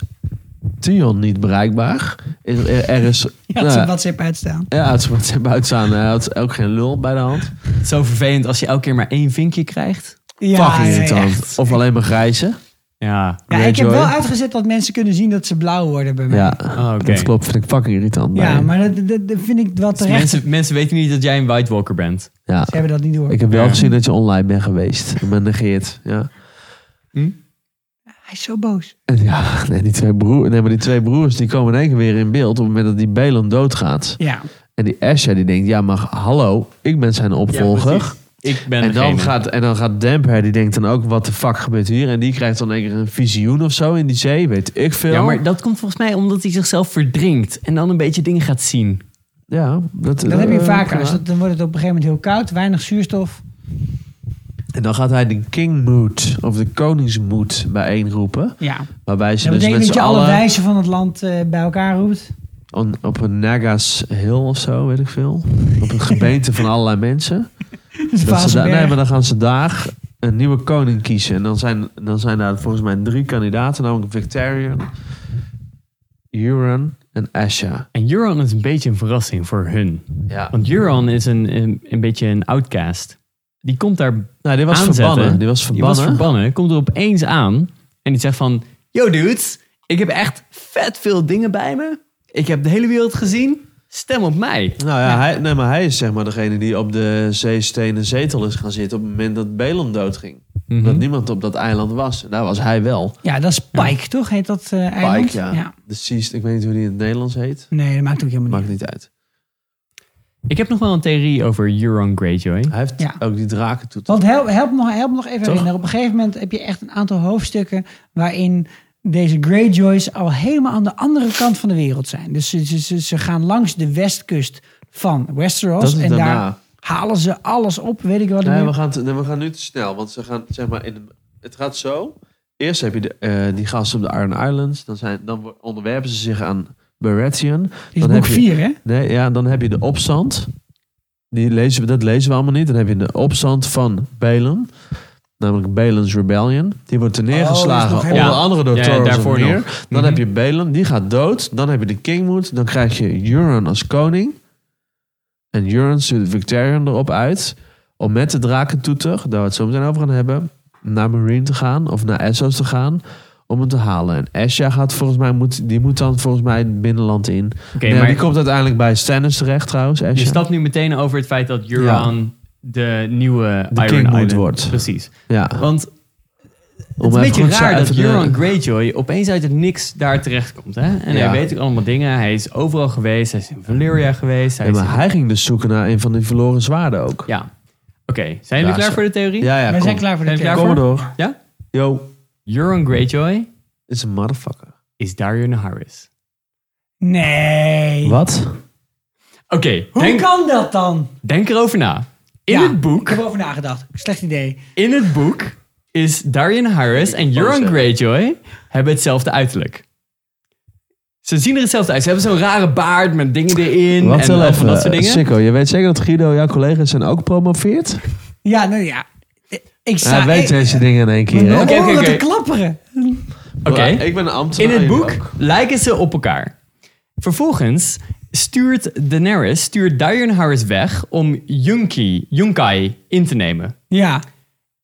Tion niet bereikbaar. Is er, er is...
Je had
nou,
zijn WhatsApp uitstaan.
ja, het is buiten staan. Hij had ook geen lul bij de hand.
Zo vervelend als je elke keer maar één vinkje krijgt.
Ja,
Fucking
ja,
irritant.
echt.
Of alleen maar grijze.
Ja.
Ja, ik heb
Greyjoy.
wel uitgezet dat mensen kunnen zien dat ze blauw worden bij mij.
Ja,
Oh, oké.
dat klopt. Vind ik fucking irritant.
Ja,
Nee.
maar dat, dat, dat vind ik wel
Dus
terecht.
mensen, mensen weten niet dat jij een White Walker bent.
Ja.
Ze hebben dat niet door.
Ik heb wel
Ja.
gezien dat je online bent geweest. Ik ben negeerd. Ja.
Hij is zo boos.
En ja, nee, die twee broers, nee, maar die twee broers die komen in één keer weer in beeld op het moment dat die Belan doodgaat.
Ja.
En die Asha die denkt, ja maar hallo, ik ben zijn opvolger.
Ik ben
en, dan
degene.
gaat, en dan gaat Damper, die denkt dan ook, wat de fuck gebeurt hier? En die krijgt dan een keer een visioen of zo in die zee, weet ik veel.
Ja, maar dat komt volgens mij omdat hij zichzelf verdrinkt. En dan een beetje dingen gaat zien.
Ja, dat,
Dat heb je
eh,
vaker.
prima.
Dus dat- dan wordt het op een gegeven moment heel koud, weinig zuurstof.
En dan gaat hij de kingmoed, of de koningsmoed, bijeenroepen.
Ja.
Waarbij ze
Dat
dus
betekent
met
dat
z'n
je alle
allen
wijzen van het land eh, bij elkaar roept.
on- op een Nagas Hill of zo, weet ik veel. Op een gemeente van allerlei mensen. Dat ze daar- nee, maar dan gaan ze daar een nieuwe koning kiezen. En dan zijn, dan zijn daar volgens mij drie kandidaten, namelijk Victarion, Euron en Asha.
En Euron is een beetje een verrassing voor hun.
Ja.
Want Euron is een, een, een beetje een outcast. Die komt daar
Nou, die was
aanzetten.
verbannen. Die was
Die was
verbannen.
verbannen. Komt er opeens aan. En die zegt van... Yo dudes, ik heb echt vet veel dingen bij me. Ik heb de hele wereld gezien. Stem op mij.
Nou ja, Hij, nee, maar hij is zeg maar degene die op de zeestenen zetel is gaan zitten op het moment dat Belon doodging.
Mhm.
Omdat niemand op dat eiland was. En daar was hij wel.
Ja, dat is Pike, toch? Heet dat eh eiland?
Pike, ja. De Seas, ik weet niet hoe die in het Nederlands heet.
Nee, dat maakt ook helemaal
Maakt
niet
niet uit.
Ik heb nog wel een theorie over Euron Greyjoy.
Hij heeft
Ja.
ook die draken toe.
Want help, help, nog, help nog even
Toch?
herinneren. Op een gegeven moment heb je echt een aantal hoofdstukken waarin deze Greyjoys al helemaal aan de andere kant van de wereld zijn. Dus ze, ze, ze, ze gaan langs de westkust van
Dat
Westeros
is
en
daarna.
daar halen ze alles op, weet ik wat.
Nee,
meer.
we gaan, te- nee, we gaan nu te snel. Want ze gaan, zeg maar, in de- het gaat zo. Eerst heb je de, eh, die gasten op de Iron Islands. Dan, zijn, dan wo- onderwerpen ze zich aan Baratheon.
Dit is
dan
boek
heb je-
4, hè?
Nee, ja, dan heb je de opstand. Die lezen, we- dat lezen we allemaal niet. Dan heb je de opstand van Belen. Namelijk Belen's Rebellion. Die wordt
Oh,
neergeslagen.
dat is nog
onder
helemaal-
andere door
Ja,
Thoros
daarvoor
of Myr.
nog. Mhm.
Dan heb je Belen. Die gaat dood. Dan heb je de Kingmoed. Dan krijg je Euron als koning. En Euron stuurt Victarion erop uit. Om met de drakentoeter, daar we het zo meteen over gaan hebben. Naar Marine te gaan. Of naar Essos te gaan. Om hem te halen. En Esha gaat volgens mij, moet, die moet dan volgens mij het binnenland in.
Oké,
Nee,
maar
die komt uiteindelijk bij Stannis terecht trouwens.
je
Asha.
stapt nu meteen over het feit dat Euron de nieuwe
De
Iron
Kingmoed
Island
wordt.
Precies.
Ja.
Want het
Om
is
even
een beetje
goed zo
raar dat
even de-
Euron Greyjoy opeens uit het niks daar terechtkomt. Hè? En
Ja.
hij weet ook allemaal dingen. Hij is overal geweest. Hij is in Valyria geweest. Hij
Ja,
is in-
maar hij ging dus zoeken naar een van die verloren zwaarden ook.
Ja. Oké, zijn jullie
Ja,
klaar
zo.
voor de theorie?
Ja, ja,
Wij
kom.
zijn klaar voor de
Ben je klaar
theorie.
Kom maar door.
Ja?
Yo,
Euron Greyjoy
is een motherfucker.
is Darion Harris.
Nee.
Wat?
Oké,
Hoe
denk,
kan dat dan?
denk erover na. In
Ja,
het
Ik
boek,
heb over nagedacht. Slecht idee.
in het boek is Darian Harris
Oh,
en Euron Greyjoy hebben hetzelfde uiterlijk. Ze zien er hetzelfde uit. Ze hebben zo'n rare baard met dingen erin
Wat
en
wel
al van
even,
dat soort dingen.
Sikko, je weet zeker dat Guido, jouw collega's, zijn ook promoveert?
Ja, nou ja. Ik sta...
Hij weet
ik,
deze dingen in één keer, hè?
Mijn
Oké, oké,
oren
oké.
te klapperen.
Oké.
Maar Ik ben een ambtenaar.
In het boek
jullie ook.
lijken ze op elkaar. Vervolgens stuurt Daenerys, stuurt Daeron Harris weg om Junki, Junkai in te nemen.
Ja.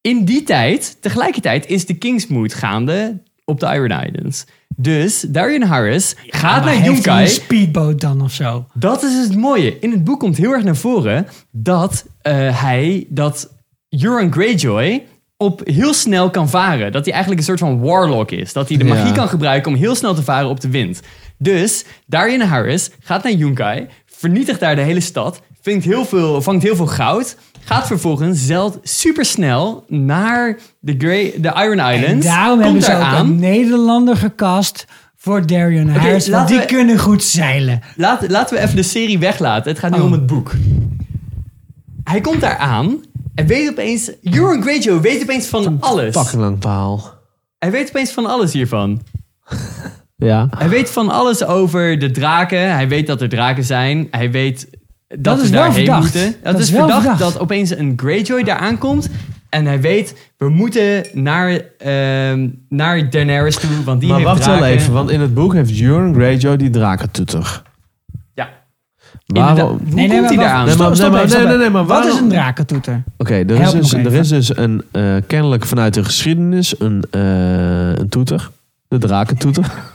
In die tijd, tegelijkertijd, is de Kingsmoot gaande op de Iron Islands. Dus Daeron Harris gaat
Maar
nou,
naar
heeft hij een
Junkai.
speedboot dan of zo?
Dat is het mooie. In het boek komt heel erg naar voren dat eh, hij, dat Euron Greyjoy op heel snel kan varen. Dat hij eigenlijk een soort van warlock is. Dat hij de magie
Ja.
kan gebruiken om heel snel te varen op de wind. Dus Darian Harris gaat naar Yunkai, vernietigt daar de hele stad, vindt heel veel, vangt heel veel goud, gaat vervolgens zeld supersnel naar de, Grey, de Iron
En
Islands,
daarom hebben
komt
ze
daar
ook een
aan.
Nederlander gecast voor Darion Harris. Want
laten
die
we-
kunnen goed zeilen.
Laat, laten we even de serie weglaten. Het gaat nu
Oh.
om het boek. Hij komt daar aan en weet opeens... Euron Greyjoy weet opeens van alles.
Fucking lang paal.
Hij weet opeens van alles hiervan.
Ja.
Hij weet van alles over de draken. Hij weet dat er draken zijn. Hij weet dat,
Dat
we
is wel
daarheen
verdacht.
moeten.
Dat
Dat,
is
is
wel
verdacht,
verdacht.
dat opeens een Greyjoy daar aankomt. En hij weet, we moeten naar, ehm, naar Daenerys toe, want die
Maar
heeft
wacht wel
draken.
even, want in het boek heeft Euron Greyjoy die drakentoeter.
Ja. Inderdaad.
Waarom...
Hoe komt hij daar aan?
Nee, maar- nee, maar-
even,
nee,
even.
nee, nee, maar
Wat is
waarom-
een drakentoeter?
Oké, er, is
Help
dus,
nog
er
even.
is dus een, eh, kennelijk vanuit de geschiedenis een, eh, een toeter. De drakentoeter.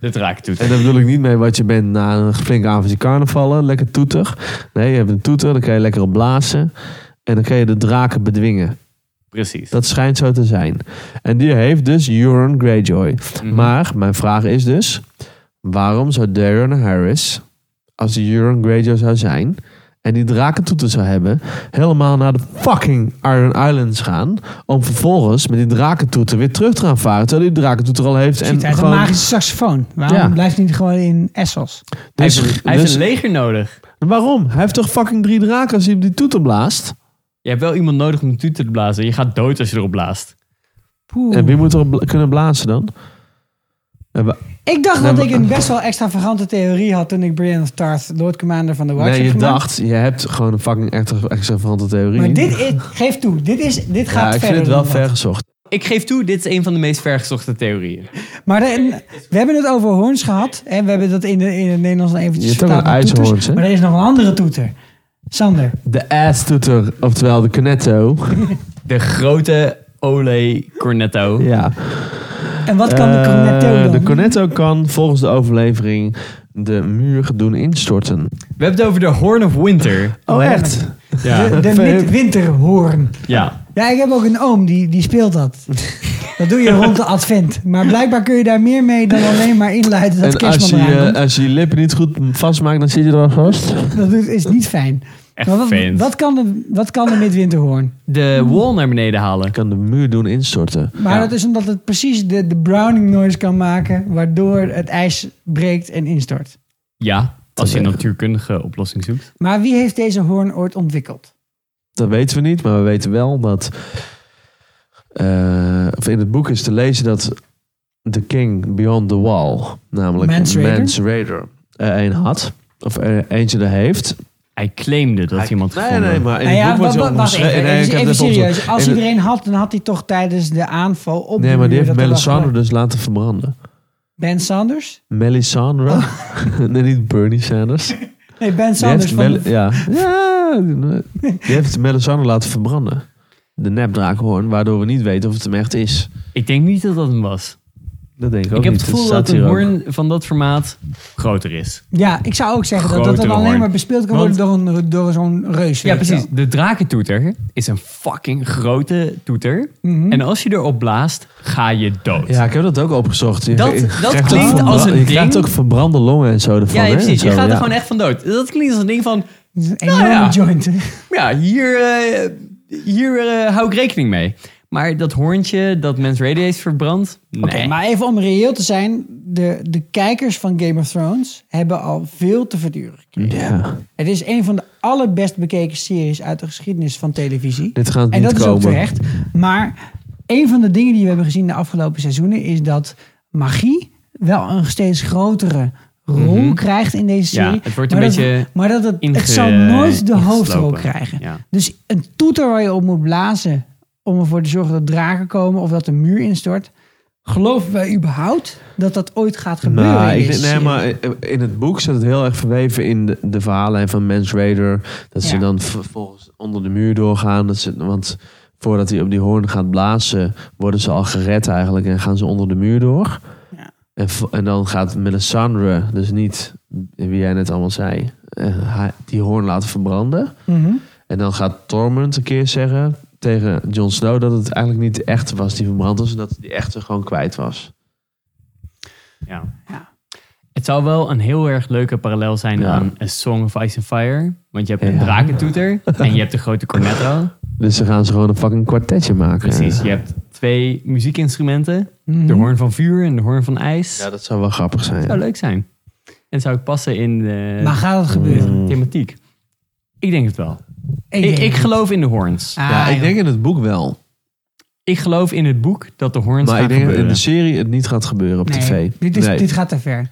De draak toe.
En daar bedoel ik niet mee wat je bent na een flink avondje carnavallen. Lekker toeter. Nee, je hebt een toeter, dan kan je lekker op blazen. En dan kan je de draken bedwingen.
Precies.
Dat schijnt zo te zijn. En die heeft dus Euron Greyjoy.
Mhm.
Maar mijn vraag is dus... Waarom zou Darren Harris, als die Euron Greyjoy zou zijn... en die drakentoeter zou hebben... helemaal naar de fucking Iron Islands gaan... om vervolgens met die drakentoeter weer terug te gaan varen... terwijl die drakentoeter al heeft.
Ziet
En
uit een
gewoon,
magische saxofoon. Waarom
Ja.
blijft hij niet gewoon in Essos?
Hij
dus,
heeft, een- hij heeft
dus-
een leger nodig.
waarom? Hij heeft toch fucking drie draken als hij op die toeter blaast?
Je hebt wel iemand nodig om een toeter te blazen. Je gaat dood als je erop blaast.
Poeh.
En wie moet erop bla- kunnen blazen dan? En wa-
Ik dacht
Nee,
dat
maar-
ik een best wel extravagante theorie had toen ik Brian of Tarth Lord Commander van de Watch
Nee,
heb
je
gemaakt.
dacht, je hebt gewoon een fucking extra- extravagante theorie.
nou? Maar dit is, geef toe, dit, is, dit gaat
ja, ik
verder.
vind het wel
dan dat.
ver gezocht.
Ik geef toe, dit is een van de meest vergezochte theorieën.
Maar de- we hebben het over hoorns gehad. En we hebben dat in, de, in het Nederlands dan eventjes
Je hebt ook
vertaald
een
naar toeters.
uitshoorns, hè?
Maar er is nog een andere toeter. Sander.
De ass-toeter, oftewel de cornetto.
De grote Ole Cornetto.
ja.
En wat kan de
Eh,
cornetto dan?
De cornetto kan volgens de overlevering de muur doen instorten.
We hebben het over de Horn of Winter.
Oh, echt?
De,
Ja.
de mid- winterhoorn.
ja.
Ja, ik heb ook een oom die, die speelt dat. Dat doe je rond de advent. Maar blijkbaar kun je daar meer mee dan alleen maar inluiden dat
En als je,
kerstman eraan
eh,
komt.
als je je lippen niet goed vastmaakt, dan zit je er al vast.
Dat doet- is niet fijn.
Echt
Maar wat,
vervelend.
wat kan de, wat kan de midwinterhoorn?
De wall naar beneden halen.
Kan de muur doen instorten.
Maar
Ja.
dat is omdat het precies de, de Browning noise kan maken, waardoor het ijs breekt en instort.
Ja, als je een
is-
natuurkundige oplossing zoekt.
Maar wie heeft deze hoorn ooit ontwikkeld?
Dat weten we niet, maar we weten wel dat. eh, of in het boek is te lezen dat The King Beyond the Wall, namelijk
Mans Raider?
Mans Raider, er een had. Of er eentje er heeft.
Hij claimde dat iemand
nee,
gevonden.
nee, maar in
Nou
het boek wordt
wa-
hij
wa- wacht even,
omschreven.
even,
Nee, ik heb
even
het opgezocht.
serieus. Als
In het-
iedereen had, dan had hij toch tijdens de aanval op de
Nee, maar die
muur
heeft
dat er was
Melisandre
gebeurd.
dus laten verbranden.
Ben Sanders?
Melisandre?
Oh.
nee, niet Bernie Sanders. Die
Nee, Ben Sanders
heeft
van
Mel-
de-
ja. ja, die heeft Melisandre laten verbranden. De nepdraakhoorn, waardoor we niet weten of het hem echt is.
Ik denk niet dat dat hem was.
Dat denk ik ook
ik heb
niet.
het gevoel
staat
dat een
hier ook.
hoorn van dat formaat groter is.
Ja, ik zou ook zeggen dat dat
Grotere
dan alleen
hoorn.
maar bespeeld kan worden door, een, door zo'n reus.
Ja,
weet je
precies.
wel.
De drakentoeter is een fucking grote toeter.
Mhm.
En als je erop blaast, ga je dood.
Ja, ik heb dat ook opgezocht. Je-
Dat-
je
dat
krijgt ook
klinkt
verbra-
als een
Je
ding.
krijgt ook verbrande longen en zo ervan.
Ja,
hè,
precies.
en
Je
zo,
gaat
ja.
er gewoon echt van dood. Dat klinkt als een ding van...
Dat is een
Nou
enorme
ja.
joint. hè?
Ja, hier, eh, hier eh, hou ik rekening mee. Maar dat hoorntje dat Mens Raider heeft verbrand? Nee.
Oké, maar even om reëel te zijn. De, de kijkers van Game of Thrones hebben al veel te verduren.
Ja.
Het is een van de allerbest bekeken series uit de geschiedenis van televisie.
Dit gaat
En
niet
dat is
komen.
ook terecht. Maar een van de dingen die we hebben gezien de afgelopen seizoenen is dat magie wel een steeds grotere rol
Mhm.
krijgt in deze
Ja,
serie.
het wordt een
maar
beetje
Dat, maar dat het,
inge-
het zal nooit de
ingeslopen.
hoofdrol krijgen.
Ja.
Dus een toeter waar je op moet blazen om ervoor te zorgen dat draken komen of dat de muur instort. Geloven wij überhaupt dat dat ooit gaat gebeuren?
Nou,
in
ik
deze
denk- nee,
serie?
maar eh, in het boek zit het heel erg verweven in de, de verhalen van Mans Raider. Dat ze
Ja.
dan vervolgens onder de muur doorgaan. Dat ze, want voordat hij op die hoorn gaat blazen, worden ze al gered eigenlijk en gaan ze onder de muur door.
Ja.
En, vo- en dan gaat Melisandre, dus niet wie jij net allemaal zei, eh, hij- die hoorn laten verbranden.
Mhm.
En dan gaat Tormund een keer zeggen tegen Jon Snow dat het eigenlijk niet de echte was die verbrand was. En dat die echte gewoon kwijt was.
Ja.
Ja.
Het zou wel een heel erg leuke parallel zijn
Ja.
aan A Song of Ice and Fire. Want je hebt een
Ja.
drakentoeter en je hebt de grote cornetto.
Dus dan gaan ze gewoon een fucking kwartetje maken.
Precies, je hebt twee muziekinstrumenten.
Mhm.
De hoorn van vuur en de hoorn van ijs.
Ja, dat zou wel grappig
Dat
zijn.
zou leuk zijn. En zou ik passen in de
Maar gaat het gebeuren?
Mm.
thematiek. Ik denk het wel.
denk
Ik,
het
ik
niet.
geloof in de hoorns.
Ah,
ja, ik
joh.
denk in het boek wel.
Ik geloof in het boek dat de hoorns
Maar
gaan
ik denk dat in
gebeuren.
de serie het niet gaat gebeuren op
Nee,
tv.
Dit, is,
nee.
dit gaat te ver.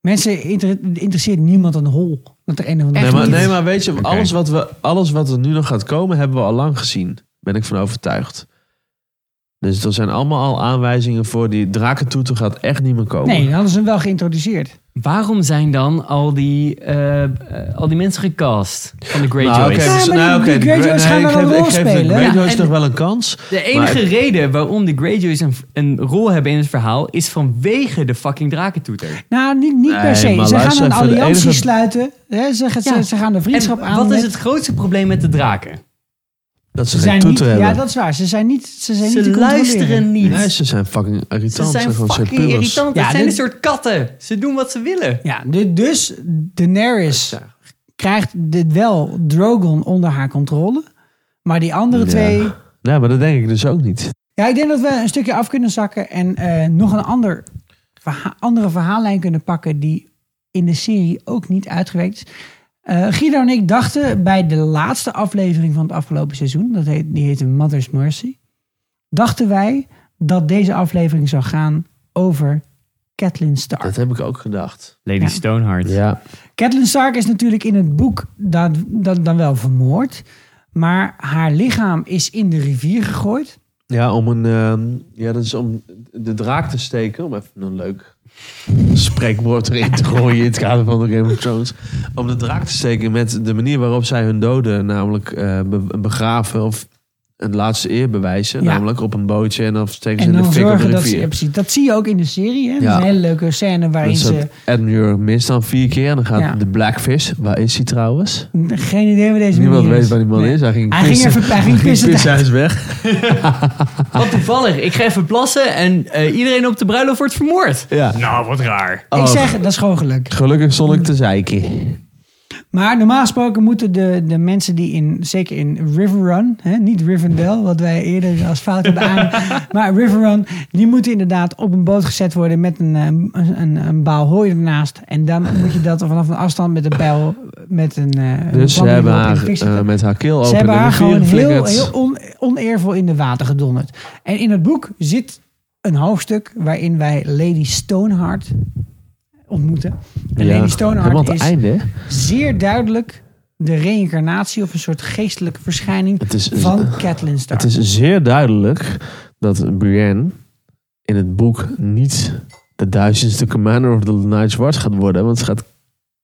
Mensen inter- interesseert niemand een hol. Dat er een of andere
nee, maar,
niet.
nee, maar weet je,
Oké.
alles, wat we, alles wat er nu nog gaat komen, hebben we al lang gezien. Ben ik van overtuigd. Dus er zijn allemaal al aanwijzingen voor die drakentoeter gaat echt niet meer komen.
Nee, dan hadden ze hem wel geïntroduceerd.
Waarom zijn dan al die, eh, eh, al die mensen gecast van de Greyjoys?
Nou, oké,
Ja,
dus-
maar
nou,
die-
oké,
die Greyjoys
nee,
gaan
ik
wel een
geef-
rol
ik geef
spelen.
De Greyjoys
Ja, en-
toch wel een kans?
De enige
Maar-
reden waarom de Greyjoys een, een rol hebben in het verhaal is vanwege de fucking drakentoeter.
Nou, niet, niet
Nee,
per se.
maar
Ze gaan
luister
een
even, de
alliantie
enige-
sluiten. Hè, ze, gaan- ze-
Ja.
ze gaan de vriendschap
En
aan.
wat is
met-
het grootste probleem met de draken?
Dat ze,
Ze
geen
zijn niet,
toeter hebben.
ja, dat is waar. Ze zijn niet ze zijn niet
Ze
te controleren.
luisteren niet.
Nee, ze zijn fucking irritant.
ze zijn
gewoon soort
fucking
pummels.
irritant.
Ja,
het zijn
dit-
een soort katten. Ze doen wat ze willen.
Ja, du- dus Daenerys
Ja.
krijgt dit wel Drogon onder haar controle. Maar die andere
Ja.
twee...
Ja, maar dat denk ik dus ook niet.
Ja, ik denk dat we een stukje af kunnen zakken en eh, nog een ander verha- andere verhaallijn kunnen pakken die in de serie ook niet uitgewerkt is. Eh, Guido en ik dachten bij de laatste aflevering van het afgelopen seizoen, dat heet, die heette Mother's Mercy, dachten wij dat deze aflevering zou gaan over Catelyn Stark.
Dat heb ik ook gedacht.
Lady
Ja.
Stoneheart.
Ja.
Catelyn Stark is natuurlijk in het boek dan, dan, dan wel vermoord, maar haar lichaam is in de rivier gegooid.
Ja, om een. ehm, ja, dat is om de draak te steken. Om even een leuk spreekwoord erin te gooien. in het kader van de Game of Thrones. Om de draak te steken met de manier waarop zij hun doden. namelijk eh, be- begraven of een laatste eer bewijzen.
Ja.
Namelijk op een bootje en dan steken ze
En
in de
dan
fik op de
zorgen dat ze, ja,
rivier.
precies, dat zie je ook in de serie. Hè? Dat is
Ja.
een hele leuke scène waarin
Dus
ze.
dat Admiral mist dan vier keer. En dan gaat
Ja.
de Blackfish. Waar is hij trouwens?
Geen idee waar deze
Niemand
manier
weet
is.
waar die man
Nee.
is. Hij ging
Hij ging
pissen.
even hij ging
Hij
pissen.
ging pissen, hij is weg.
Wat toevallig. Ik ga even plassen en eh, iedereen op de bruiloft wordt vermoord.
Ja.
Nou, wat raar.
Oh.
Ik zeg, dat is gewoon geluk.
Gelukkig stond ik te zeiken.
Maar normaal gesproken moeten de, de mensen die in, zeker in River Run, hè, niet Rivendell, wat wij eerder als fout hebben aan, maar River Run, die moeten inderdaad op een boot gezet worden met een, eh, een, een, een baal hooi ernaast. En dan moet je dat vanaf een afstand met een bijl, met een. eh,
Dus ze
bandje
hebben
erop in de
haar
fik zetten.
eh, met haar keel open
Ze hebben
in de
haar
rivier
gewoon heel,
geflikkerd.
heel on- oneervol in de water gedonderd. En in het boek zit een hoofdstuk waarin wij Lady Stoneheart ontmoeten. En
Ja,
Lady
helemaal
Stoneheart
aan het
is
einde. hè?
zeer duidelijk de reïncarnatie of een soort geestelijke verschijning
Het is,
van Catelyn Stark.
het is zeer duidelijk dat Brienne in het boek niet de duizendste Commander of the Night's Watch gaat worden. Want ze gaat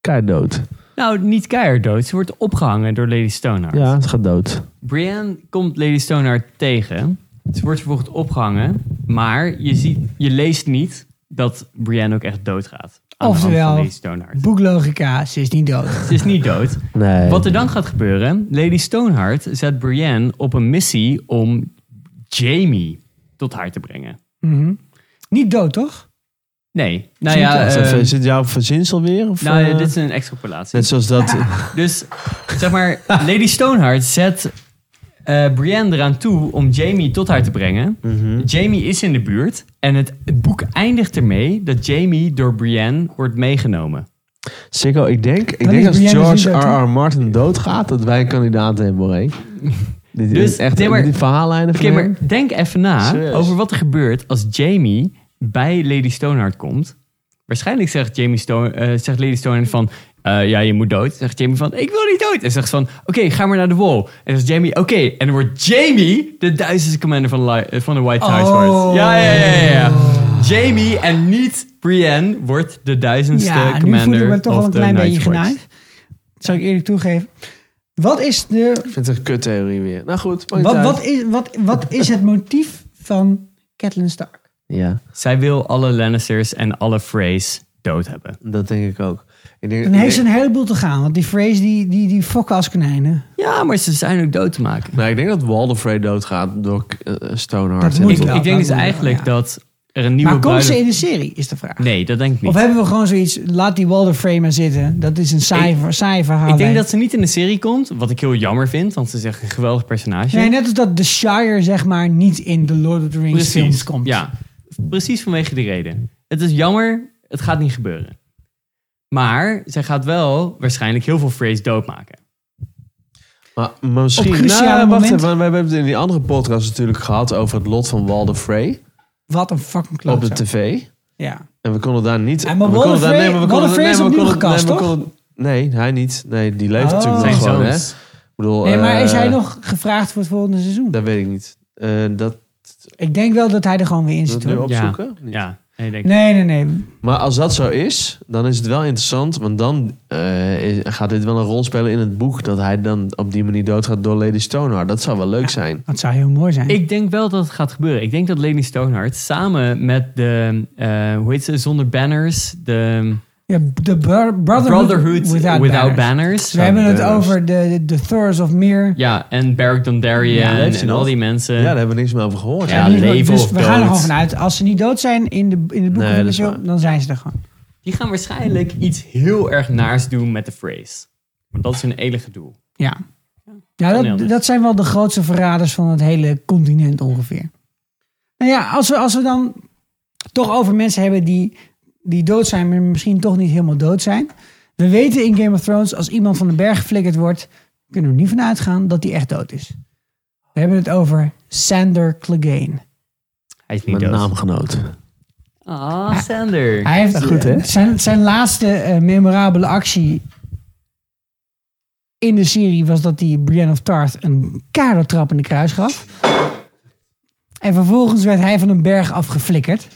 keihard dood.
Nou, niet keihard dood. Ze wordt opgehangen door Lady Stoneheart.
Ja, ze gaat dood.
Brienne komt Lady Stoneheart tegen. Ze wordt vervolgens opgehangen. Maar je, ziet, je leest niet dat Brienne ook echt doodgaat. Aan de hand van
Oftewel,
Lady Stoneheart.
Boeklogica, ze is niet dood.
Ze is niet dood.
Nee.
Wat er dan gaat gebeuren, Lady Stoneheart zet Brienne op een missie om Jamie tot haar te brengen.
Mhm. Niet dood, toch?
Nee, nou
Zit
ja,
Is dat-
eh,
is dit jouw verzinsel weer? Of,
nou,
eh,
dit is een extrapolatie.
Net zoals dat...
Dus zeg maar, Lady Stoneheart zet eh, Brienne eraan toe om Jamie tot haar te brengen. Jamie is in de buurt en het, het boek eindigt ermee dat Jamie door Brienne wordt meegenomen.
Sikko, ik denk, ik
Dan
denk
is
als
Brienne dus
George
Zindert,
R.R. Martin doodgaat, dat wij een kandidaat hebben, Boré. Dit
Dus,
is echt
nee, maar-
die verhaallijnen van
Oké,
hem.
maar denk even na
Serieus?
over wat er gebeurt als Jamie bij Lady Stonehart komt. Waarschijnlijk zegt, Jamie Stone, eh, zegt Lady Stonehart van... eh, ja, je moet dood. Zegt Jamie van, ik wil niet dood. En zegt ze van, oké, ga maar naar de wall. En zegt Jamie, oké. En dan wordt Jamie de duizendste commander van, Li- eh, van de White House
Oh.
Ja, ja, ja, ja, ja. Jamie en niet Brienne wordt de duizendste
Ja, nu voel
commander
ik me toch
of
wel een
the
klein
Night's
beetje
Watch.
genaaid. Dat zal ik eerlijk toegeven. Wat is, de,
Ik vind het een kuttheorie weer. Nou goed, maakt
wat,
niet
wat,
uit.
is, wat, wat is het motief van Catelyn Stark?
Ja,
Zij wil alle Lannisters en alle Freys dood hebben.
dat denk ik ook. Ik denk,
Dan heeft ze
ik-
een heleboel te gaan, want die Freys die, die, die fokken als konijnen.
Ja, maar ze zijn ook dood te maken.
nou, ik denk dat Walderfrey doodgaat door eh, Stoneheart.
Dat moet
En-
Ik,
wel.
ik
dat
denk dus
moet wel,
eigenlijk
ja.
dat er een nieuwe
maar komt
bruiloft-
ze in de serie, is de vraag.
Nee, dat denk ik niet.
Of hebben we gewoon zoiets, laat die Walder Frey maar zitten. Dat is een saai, ver- saai verhaal.
ik denk dat ze niet in de serie komt, wat ik heel jammer vind, want ze is echt een geweldig personage.
Nee, net als dat The Shire zeg maar niet in de Lord of the Rings films komt.
Ja, precies vanwege die reden. Het is jammer, het gaat niet gebeuren. Maar zij gaat wel waarschijnlijk heel veel Freys doodmaken.
Maar, maar misschien...
Op cruciale
nou, wacht
momenten.
even. want We hebben het in die andere podcast natuurlijk gehad over het lot van Walderfrey
Wat een fucking
op de
klootzak.
tv.
Ja.
En we konden daar niet...
Ja, maar
we konden
Walder
daar-
Frey-
nee, maar we
Walder
konden-
Frey
nee,
is
maar we
opnieuw
konden-
gekast,
nee, maar we
toch?
konden- Nee, hij niet. Nee, die leeft
Oh.
natuurlijk
Zijn
nog gewoon, hè.
zoons.
Ik bedoel,
Nee, maar
eh,
is hij nog gevraagd voor het volgende seizoen?
Dat weet ik niet. Eh, dat
Ik denk wel dat hij er gewoon weer in
dat
zit.
nu
hoor.
opzoeken? Niet.
Ja, nee, ik denk
Nee, nee, nee.
Maar als dat zo is, dan is het wel interessant. Want dan eh, is- gaat dit wel een rol spelen in het boek. Dat hij dan op die manier doodgaat door Lady Stoneheart. Dat zou wel leuk zijn.
Dat zou heel mooi zijn.
Ik denk wel dat het gaat gebeuren. Ik denk dat Lady Stonehart samen met de, eh, hoe heet ze, zonder banners, de
ja, de bro- brotherhood,
Brotherhood Without,
banners.
banners.
We hebben het
banners.
over de, de Thors of Meer.
Ja, en Beric
Ja,
Dondarrion
leeft
en
hij nog?
al die mensen.
Ja, daar hebben we niks meer over gehoord.
Ja,
hè?
dus we-
leven
dus
of
we gaan er
dood.
gewoon vanuit. Als ze niet dood zijn in de, in de boeken
Nee,
van
dat
de
is
show,
waar.
dan zijn ze er gewoon.
Die gaan waarschijnlijk iets heel erg naars doen met de phrase. Want dat is hun enige doel.
Ja. Ja,
heel
dat,
net.
dat zijn wel de grootste verraders van het hele continent ongeveer. Nou ja, als we, als we dan toch over mensen hebben die, die dood zijn, maar misschien toch niet helemaal dood zijn. We weten in Game of Thrones, als iemand van de berg geflikkerd wordt, kunnen we er niet van uitgaan dat hij echt dood is. We hebben het over Sander Clegane.
Hij is niet
Mijn
dood.
naamgenoot.
Ah, Sander.
Hij heeft eh,
goed, hè?
Zijn, zijn laatste eh, memorabele actie in de serie was dat hij Brienne of Tarth een kadertrap in de kruis gaf. En vervolgens werd hij van een berg afgeflikkerd.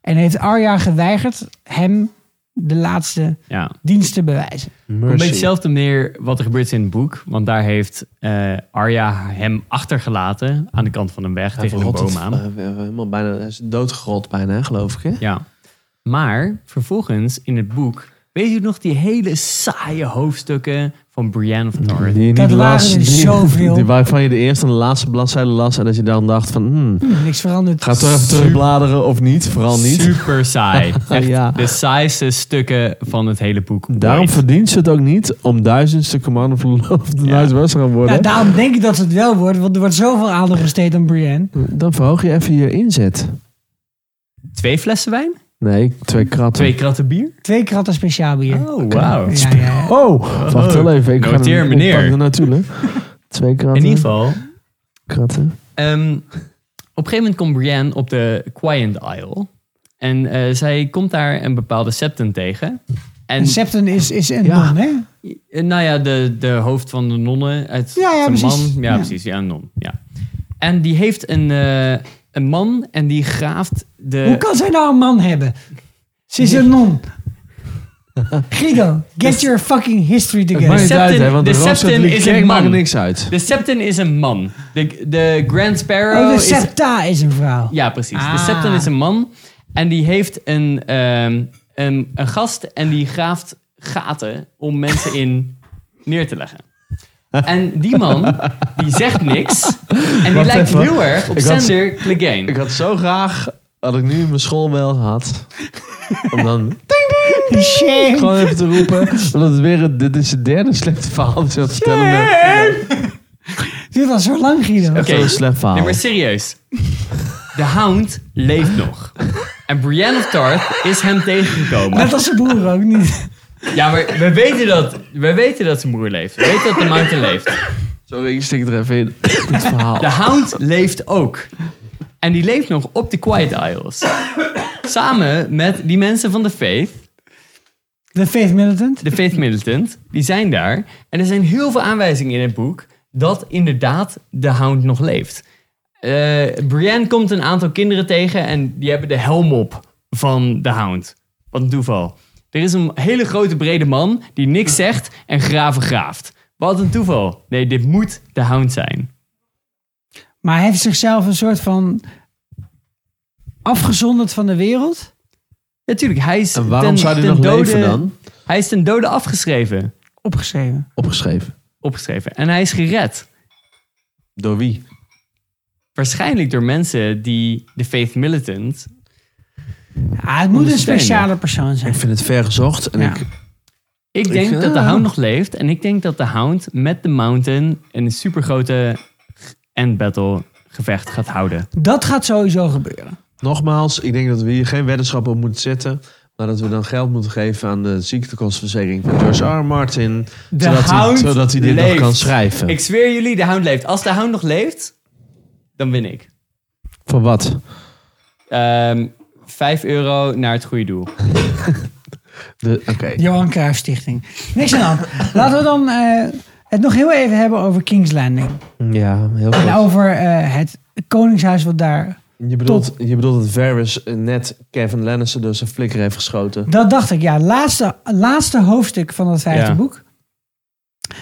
En heeft Arya geweigerd hem de laatste
Ja.
dienst te bewijzen.
Een beetje hetzelfde meer wat er gebeurt is in het boek. Want daar heeft eh, Arya hem achtergelaten aan de kant van een weg
Hij
tegen een
verrot het,
boom aan.
eh, we hebben helemaal bijna, hij is doodgerold bijna, geloof ik. Hè?
Ja. Maar vervolgens in het boek, weet je nog die hele saaie hoofdstukken van Brienne of Tarth?
Die,
Dat waren er zoveel.
Die, waarvan je de eerste en de laatste bladzijde las. En dat je dan dacht van... hmm,
Niks veranderd.
ga toch even terugbladeren of niet? Vooral niet.
Super saai. Echt
Ja.
de saaiste stukken van het hele boek.
Daarom
ooit.
verdient ze het ook niet om duizendste Command of the Lord of the
Ja.
Night's Watch te gaan worden.
Ja, Nou, daarom denk ik dat het wel wordt, want er wordt zoveel aandacht besteed aan Brienne.
Dan verhoog je even je inzet.
Twee flessen wijn?
Nee, twee kratten.
Twee kratten bier?
Twee kratten speciaal bier.
Oh, wauw.
Ja, ja, ja.
Oh, wacht wel even. Ik ga
Noteer,
hem- ik
meneer.
pak er natuurlijk. Twee kratten.
In ieder geval,
Kratten.
ehm, op een gegeven moment komt Brienne op de Quiet Isle. En eh, zij komt daar een bepaalde septen tegen. En
En Septon is, is een
Ja.
man, hè?
eh, nou ja, de, de hoofd van de nonnen uit
Ja, ja,
zijn
precies.
man. Ja,
Ja.
precies. Ja, een non. Ja. En die heeft een, eh, een man en die graaft de...
Hoe kan zij nou een man hebben? Ze is een non. Guido, get your fucking history
Het
together.
maakt niet uit,
septen-
hè, want
de
de
septen
Rooms-Katholieke
is een
Kerk
man.
maakt niks uit.
De septen is een man. De, de Grand Sparrow
Oh, de
is
septa is een vrouw.
Ja, precies.
Ah.
De Septon is een man en die heeft een, ehm, een, een gast en die graaft gaten om mensen in neer te leggen. En die man, die zegt niks en die
Wacht
lijkt
even.
heel erg op
Ik had-
Sander
Ik
Clegane.
had zo graag, had ik nu mijn schoolbel gehad. Om dan
Oh, Shame.
gewoon even te roepen. Omdat het weer, een- dit is het derde slechte verhaal dat je had vertellen.
Dit was zo lang, Guido.
Echt wel een slecht verhaal.
Nee, maar serieus. De hound leeft nog. En Brienne of Tarth is hem tegengekomen.
Net als zijn broer ook niet.
Ja, maar we weten dat, we weten dat zijn broer leeft. We weten dat de mountain leeft.
Sorry, ik stik er even in. Goed verhaal.
De hound leeft ook. En die leeft nog op de Quiet Isles. Samen met die mensen van de Faith.
De Faith Militant.
de Faith Militant, die zijn daar. En er zijn heel veel aanwijzingen in het boek dat inderdaad de hound nog leeft. Eh, Brienne komt een aantal kinderen tegen en die hebben de helm op van de hound. Wat een toeval. Er is een hele grote brede man die niks zegt en graven graaft. Wat een toeval. Nee, dit moet de hound zijn.
Maar hij heeft zichzelf een soort van afgezonderd van de wereld.
Natuurlijk, hij is
En waarom
ten-
zou die
ten
nog
dode,
leven dan?
Hij is ten dode afgeschreven.
Opgeschreven.
Opgeschreven.
Opgeschreven. En hij is gered.
Door wie?
Waarschijnlijk door mensen die de Faith Militant
Ja, het moet een
Ondersteunen.
speciale persoon zijn.
Ik vind het ver gezocht. En
Ja.
ik,
Ik denk
Ik-
dat de
ah.
hound nog leeft. En ik denk dat de hound met de mountain een supergrote end battle gevecht gaat houden.
Dat gaat sowieso gebeuren.
nogmaals, ik denk dat we hier geen weddenschappen op moeten zetten. Maar dat we dan geld moeten geven aan de ziektekostenverzekering van George R. R. Martin. zodat,
hound
hij, zodat hij dit nog
leeft.
kan schrijven.
Ik zweer jullie, de hound leeft. Als de hound nog leeft, dan win ik.
Van wat?
Ehm 5 euro naar het goede doel.
De- Oké.
Johan Cruijff Stichting. Niks aan de hand. Laten we dan eh, het nog heel even hebben over King's Landing.
Ja, heel
En
goed.
over eh, het koningshuis wat daar...
Je bedoelt, je bedoelt dat Varys eh, net Kevin Lannister door zijn flikker heeft geschoten.
Dat dacht ik, ja. Laatste, laatste hoofdstuk van dat vijfde
Ja.
boek.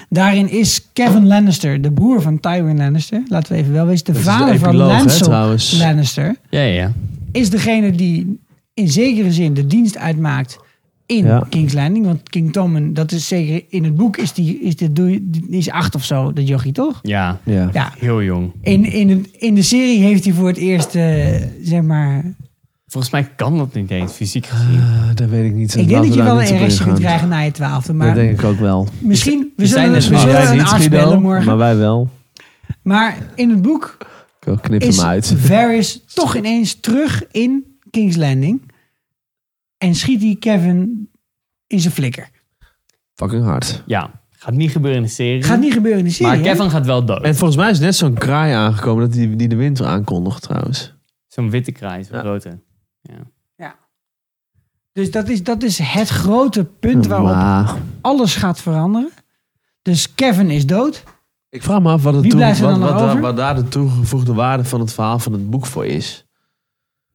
Daarin is Kevin Lannister, de broer van Tywin Lannister. Laten we even wel wezen. De
Dat is de
vader van
epiloog, hè,
Lancel
trouwens.
Lannister.
Ja, ja, ja.
Is degene die in zekere zin de dienst uitmaakt in
Ja.
King's Landing. Want King Tommen, dat is zeker in het boek, is die, is dit, doe je- die is acht of zo, dat jochie toch?
Ja,
Ja.
Ja,
heel jong.
In, in, het- in de serie heeft hij voor het eerst, eh, zeg maar...
Volgens mij kan dat niet eens fysiek gezien.
Eh, dat weet ik niet.
Ik
Laten
denk
we
dat je
daar
wel
niet
een
op
restje kunt
ingaan.
krijgen na je twaalfde.
Dat
Maar
denk ik ook wel.
misschien, we
we zijn
zullen, we
er snel.
zullen
Jij
een
niet,
arts
Guido,
bellen morgen.
maar wij wel.
Maar in het boek
Ik knip
is
hem uit.
Varys toch ineens terug in King's Landing. En schiet die Kevin in zijn flikker.
Fucking hard.
Ja, gaat niet gebeuren in de serie.
Gaat niet gebeuren in de serie.
maar
hè?
Kevin gaat wel dood.
En volgens mij is net zo'n kraai aangekomen dat die, die de winter aankondigt trouwens.
Zo'n witte kraai, zo'n
Ja.
grote.
Dus dat is, dat is het grote punt waarop
Maar
alles gaat veranderen. Dus Kevin is dood.
ik vraag me af wat, het
Wie
toe, wat,
blijft er
wat,
dan nog
daar-
over?
wat daar de toegevoegde waarde van het verhaal van het boek voor is.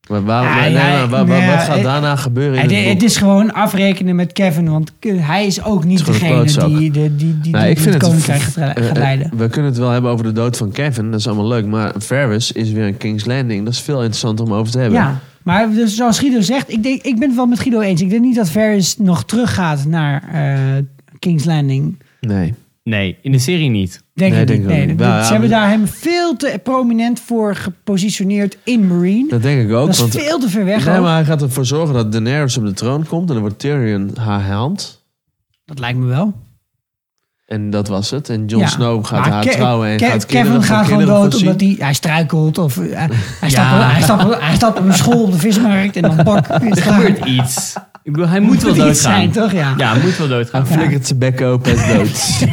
Maar waar,
Ah,
nee,
ja,
maar waar- waar-
ja,
wat gaat
eh,
daarna gebeuren in
Het,
het,
i-
boek?
het is gewoon afrekenen met Kevin. Want Ke- hij is ook niet
Het is gewoon
degene
een
die,
klootzak.
die, die, die, die
Nou, ik
het
vind het-
koninkrijk gaat re-
Eh,
gaat
eh,
leiden.
we kunnen het wel hebben over de dood van Kevin. Dat is allemaal leuk. Maar Ferris is weer een King's Landing. Dat is veel interessanter om over te hebben.
Ja, maar dus zoals Guido zegt, ik, denk, ik ben het wel met Guido eens. Ik denk niet dat Varys nog teruggaat naar eh, King's Landing.
Nee.
Nee, in de serie niet.
Denk
Nee,
ik
denk
niet.
ik ook
Nee,
niet.
dat-
Nou ja,
ze hebben
maar-
daar hem veel te prominent voor gepositioneerd in Marine. Dat,
Dat denk ik ook.
is
want,
veel te ver weg.
nee,
ook.
maar hij gaat ervoor zorgen dat Daenerys op de troon komt. En dan wordt Tyrion haar hand.
Dat lijkt me wel.
En dat was het. En Jon
Ja.
Snow gaat
Maar
haar
Ke-
trouwen. En
Ke-
gaat
Kevin
kinderen
gaat gewoon
kinderen
dood
voorzien.
omdat hij, hij struikelt. Of, eh, hij, hij stapt op, hij, stapt op, hij stapt op een school op de vismarkt en dan pak. Er
Er gebeurt iets. Ik bedoel, hij moet wel
iets zijn,
doodgaan.
toch? Ja.
Ja, hij moet wel doodgaan.
Ja.
Flikkert zijn bek open en dood.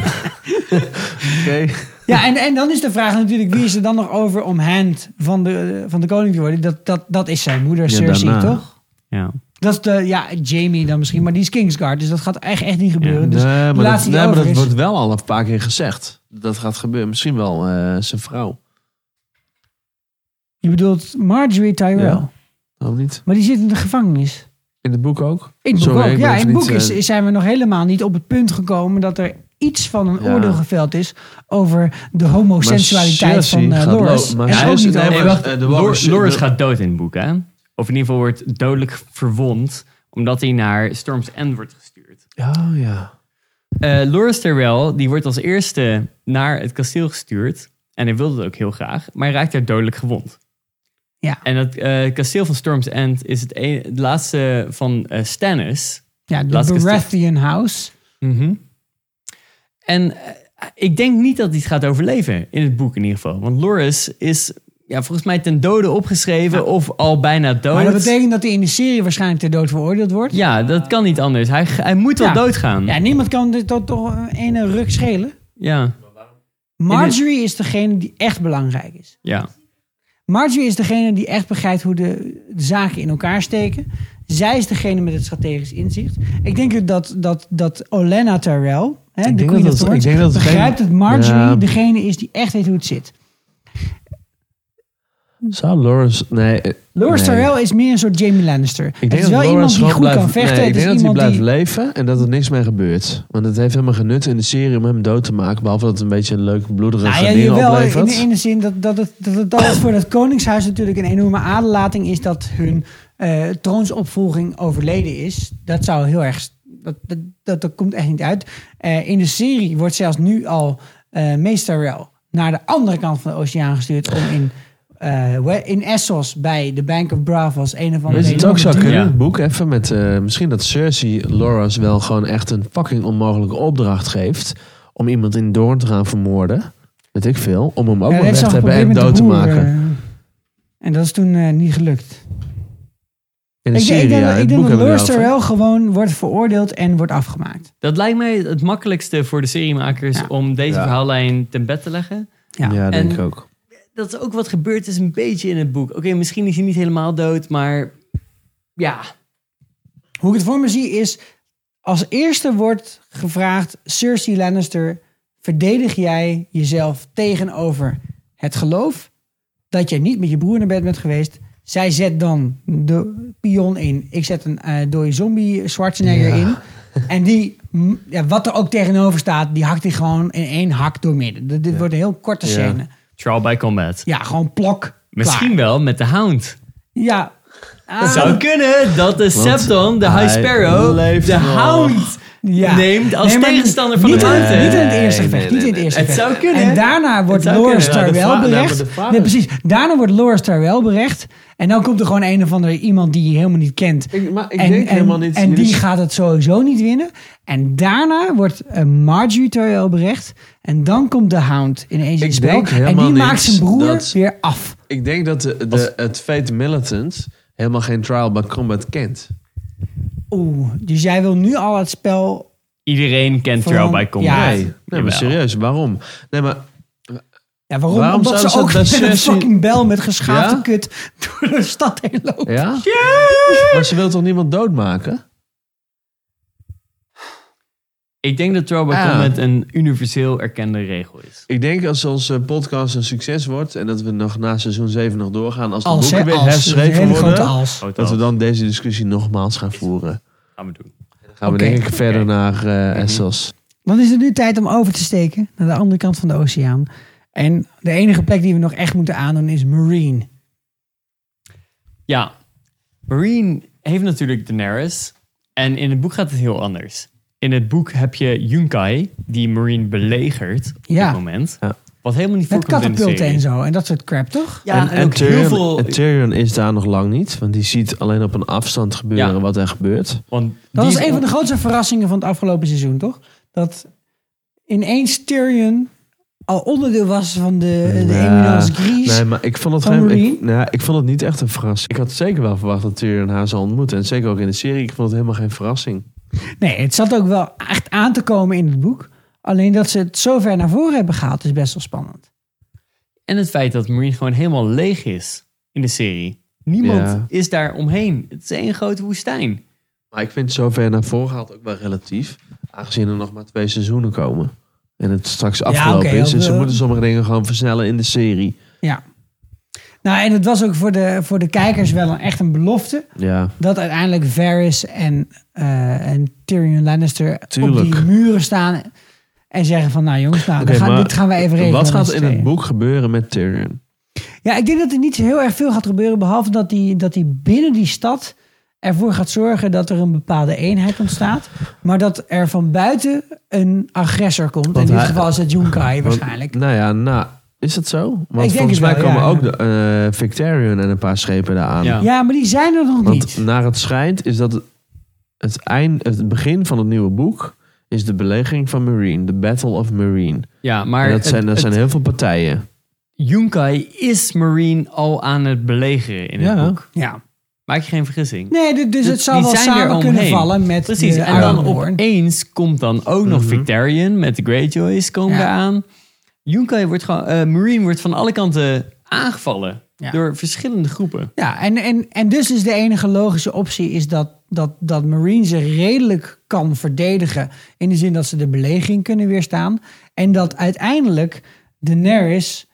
Oké.
Ja, en, en dan is de vraag natuurlijk, wie is er dan nog over om hand van de, van de koning te worden? Dat, dat, dat is zijn moeder,
Ja,
Cersei,
daarna.
toch?
Ja.
Dat is de, ja, Jamie dan misschien, maar die is Kingsguard, dus dat gaat echt, echt niet gebeuren.
Nee,
dus
maar
de
dat,
laatste die
nee, maar
over
dat
is-
wordt wel al een paar keer gezegd. Dat gaat gebeuren. Misschien wel eh, zijn vrouw.
Je bedoelt Marjorie Tyrell,
Ja. Of niet?
maar die zit in de gevangenis.
In het boek ook?
In het boek
Sorry,
ook.
ik ben
Ja, in
even
het boek
niet,
is,
eh,
is- zijn we nog helemaal niet op het punt gekomen dat er iets van een
Ja.
oordeel geveld is over de homoseksualiteit van
Cersei
eh
gaat
Loras.
lo- maar
En ook
Cersei-
niet
nee,
over...
maar-
wacht.
eh, de Warren-
Lor-
de-
Loris gaat dood in het boek, hè? Of in ieder geval wordt dodelijk verwond, omdat hij naar Storm's End wordt gestuurd.
Ja, Oh, ja.
Eh Loris Terrell, die wordt als eerste naar het kasteel gestuurd. En hij wilde het ook heel graag, maar hij raakt daar dodelijk gewond.
Ja.
En het eh, kasteel van Storm's End is het, een- het laatste van eh Stannis.
Ja, de
Laatste kasteel.
Baratheon House.
En eh, ik denk niet dat hij het gaat overleven, in het boek in ieder geval. Want Loris is ja, volgens mij ten dode opgeschreven of al bijna dood.
Oh,
Maar dat betekent dat hij in de serie waarschijnlijk ter dood veroordeeld wordt.
Ja, dat kan niet anders. Hij, hij moet wel
Ja.
doodgaan.
Ja,
Hm.
Ja.
niemand kan dit tot toch een ene ruk schelen.
ja,
Marjorie is degene die echt belangrijk is. Marjorie is degene die echt begrijpt hoe de, de zaken in elkaar steken. Zij is degene met het strategisch inzicht. Ik denk dat, dat, dat Olena Tyrell, hè,
denk
de
dat
Queen
dat-
of Thorns,
ik denk dat het
begrijpt
geen-
dat Marjorie
Ja.
degene is die echt weet hoe het zit. Hmm.
Zou Loris... Nee. eh,
Loras
nee.
Tyrell is meer een soort Jamie Lannister.
Ik
het
denk
is wel
dat Loras
iemand die
gewoon
goed
blijft-
kan vechten.
Nee, ik
het
denk
is
dat hij
iemand
blijft
die...
leven en dat er niks mee gebeurt. Want het heeft helemaal genut in de serie om hem dood te maken. Behalve dat het een beetje een leuk bloederig
Nou ja,
ding
jawel, in,
oplevert.
de- in de zin dat, dat, het, dat het alles voor dat koningshuis natuurlijk een enorme aderlating is dat hun eh, troonsopvolging overleden is. Dat zou heel erg. Dat, dat, dat, dat komt echt niet uit. Eh, in de serie wordt zelfs nu al eh Meester Rel naar de andere kant van de oceaan gestuurd om in, eh, we- in Essos bij de Bank of Bravos een of andere.
Weet je het ook
enorme
zou
deal-
kunnen?
Ja.
Boek even met... eh, misschien dat Cersei Loras wel gewoon echt een fucking onmogelijke opdracht geeft... om iemand in Doorn te gaan vermoorden. Weet ik veel. Om hem ook
Ja,
maar
dat
weg
heeft
te
ze
hebben
al
en dood
geprobeerd
te
met de boer,
maken.
eh, En dat is toen eh, niet gelukt.
In de
Ik, denk-
serie,
ik denk,
ja.
dat-
Het
ik denk
boek
dat
hebben we
Loras
erover.
Tyrell gewoon wordt veroordeeld en wordt afgemaakt.
dat lijkt mij het makkelijkste voor de seriemakers
Ja.
om deze
Ja.
verhaallijn ten bed te leggen.
Ja.
Ja,
En-
denk ik ook.
Dat is ook wat gebeurd is een beetje in het boek. Oké, misschien is hij niet helemaal dood, maar ja.
Hoe ik het voor me zie is, als eerste wordt gevraagd, Cersei Lannister, verdedig jij jezelf tegenover het geloof dat jij niet met je broer naar bed bent geweest? Zij zet dan de pion in. Ik zet een eh dode zombie Schwarzenegger in. En die, mm, ja, wat er ook tegenover staat, die hakt hij gewoon in één hak door midden. Dit dit wordt een heel korte
Ja.
scène.
Trial by combat.
Ja, gewoon plok.
Misschien
klaar.
wel met de hound.
Ja.
Ah.
Ah.
Het zou kunnen dat de Septon, de High
hij
Sparrow,
leeft
de
nog.
hound
Oh. Ja.
neemt als
Nee, maar
tegenstander van
niet,
de
in-
hound.
Niet in het eerste
Nee,
gevecht.
nee,
niet in het
nee,
eerste
nee. Het
gevecht.
zou kunnen, hè?
En daarna wordt
zou
Loras
kunnen. Ja,
de
Tyrell
va- nou,
berecht.
maar de vader-
nee, precies. Daarna wordt Loras Tyrell berecht. En dan komt er gewoon een of andere iemand die je helemaal niet kent.
Ik, maar ik
en,
denk
en-
helemaal niet...
En
jullie-
die gaat het sowieso niet winnen. En daarna wordt eh, Marjorie Tyrell berecht. En dan komt de Hound ineens in
Ik
spel.
denk
En
helemaal
die maakt
niet
zijn broer
dat-
weer af.
Ik denk dat de, de, het feit militant helemaal geen trial by combat kent.
Oeh, dus jij wil nu al het spel...
Iedereen kent
Van-
Trial by Combat.
Ja.
nee, nee maar
Ah, Jawel.
serieus, waarom? Nee, maar
Ja, waarom?
Waarom
Omdat
zouden
ze
ze
ook
dat
met een
Cersei-
fucking bel met geschaafde
Ja?
kut door de stad heen lopen.
ja? Maar ze wil toch niemand doodmaken?
Ik denk dat Trial by
Ah.
Combat een universeel erkende regel is.
Ik denk als onze podcast een succes wordt en dat we nog na seizoen 7 nog doorgaan, als de
Als, hè,
boeken weer
als. Een
herschreven
hele grote
worden,
als.
Oh,
dat we dan deze discussie nogmaals gaan voeren.
gaan we doen.
Dan gaan we
Oké.
denk ik verder naar eh Essos.
Dan is het nu tijd om over te steken naar de andere kant van de oceaan. En de enige plek die we nog echt moeten aandoen is Marine.
Ja, Marine heeft natuurlijk Daenerys. En in het boek gaat het heel anders. In het boek heb je Yunkai, die Marine belegert op
Ja.
dit moment.
Ja.
Wat helemaal niet
Met
voorkomt in de serie.
katapulten en zo. En dat soort crap, toch?
Ja, en, ook
Tyrion,
heel veel...
en Tyrion is daar nog lang niet, want die ziet alleen op een afstand gebeuren
Ja.
wat er gebeurt.
Want
Dat
die
was een van de grootste verrassingen van het afgelopen seizoen, toch? Dat ineens Tyrion al onderdeel was van de, Eh, de
Ja.
Eminence Grease.
Nee, maar ik vond het
Van
geen,
Marine?
ik, nou, ik vond het niet echt een verrassing. Ik had zeker wel verwacht dat Tyrion haar zou ontmoeten. En zeker ook in de serie. Ik vond het helemaal geen verrassing.
Nee, het zat ook wel echt aan te komen in het boek. Alleen dat ze het zo ver naar voren hebben gehaald is best wel spannend.
En het feit dat Marine gewoon helemaal leeg is in de serie. Niemand
Ja.
is daar omheen. Het is één grote woestijn.
Maar ik vind zover naar voren gehaald ook wel relatief. Aangezien er nog maar twee seizoenen komen. En het straks afgelopen
oké,
is. En ze
dat-
moeten sommige dingen gewoon versnellen in de serie.
Ja. Nou, en het was ook voor de, voor de kijkers wel een, echt een belofte.
Ja.
dat uiteindelijk Varys en, eh, en Tyrion Lannister op
Tuurlijk.
die muren staan en zeggen van, nou jongens, nou,
Oké,
we gaan,
maar
dit gaan we even regelen.
Wat
met
gaat
z'n
in het
tweeën.
boek gebeuren met Tyrion?
Ja, ik denk dat er niet zo heel erg veel gaat gebeuren, behalve dat hij dat die binnen die stad ervoor gaat zorgen dat er een bepaalde eenheid ontstaat, maar dat er van buiten een agressor komt. in dit
hij-
geval is dat Junkai
Want,
waarschijnlijk.
nou ja, nou... Is dat zo?
denk
Want volgens
het
mij
wel,
komen
ja.
ook de, eh, Victarion en een paar schepen daar aan.
Ja.
Ja, maar die zijn er nog
Want
niet.
naar het schijnt is dat het, eind, het begin van het nieuwe boek is de belegering van Marine, de Battle of Marine.
Ja, maar
en dat
het-
zijn, dat
het-
zijn heel veel partijen.
Yunkai is Marine al aan het belegeren in het
Ja.
boek.
Ja.
Maak je geen vergissing.
Nee, du- dus het zou
Die
wel
zijn er
samen kunnen
omheen.
vallen met
Precies,
de
en dan
Ironborn.
opeens komt dan ook nog Victarion met de Greyjoys komen
Ja.
eraan. Yunkai wordt gewoon, eh, Marine wordt van alle kanten aangevallen
Ja.
door verschillende groepen.
Ja, en, en, en dus is de enige logische optie is dat, dat, dat Marine zich redelijk kan verdedigen. In de zin dat ze de belegering kunnen weerstaan. En dat uiteindelijk Daenerys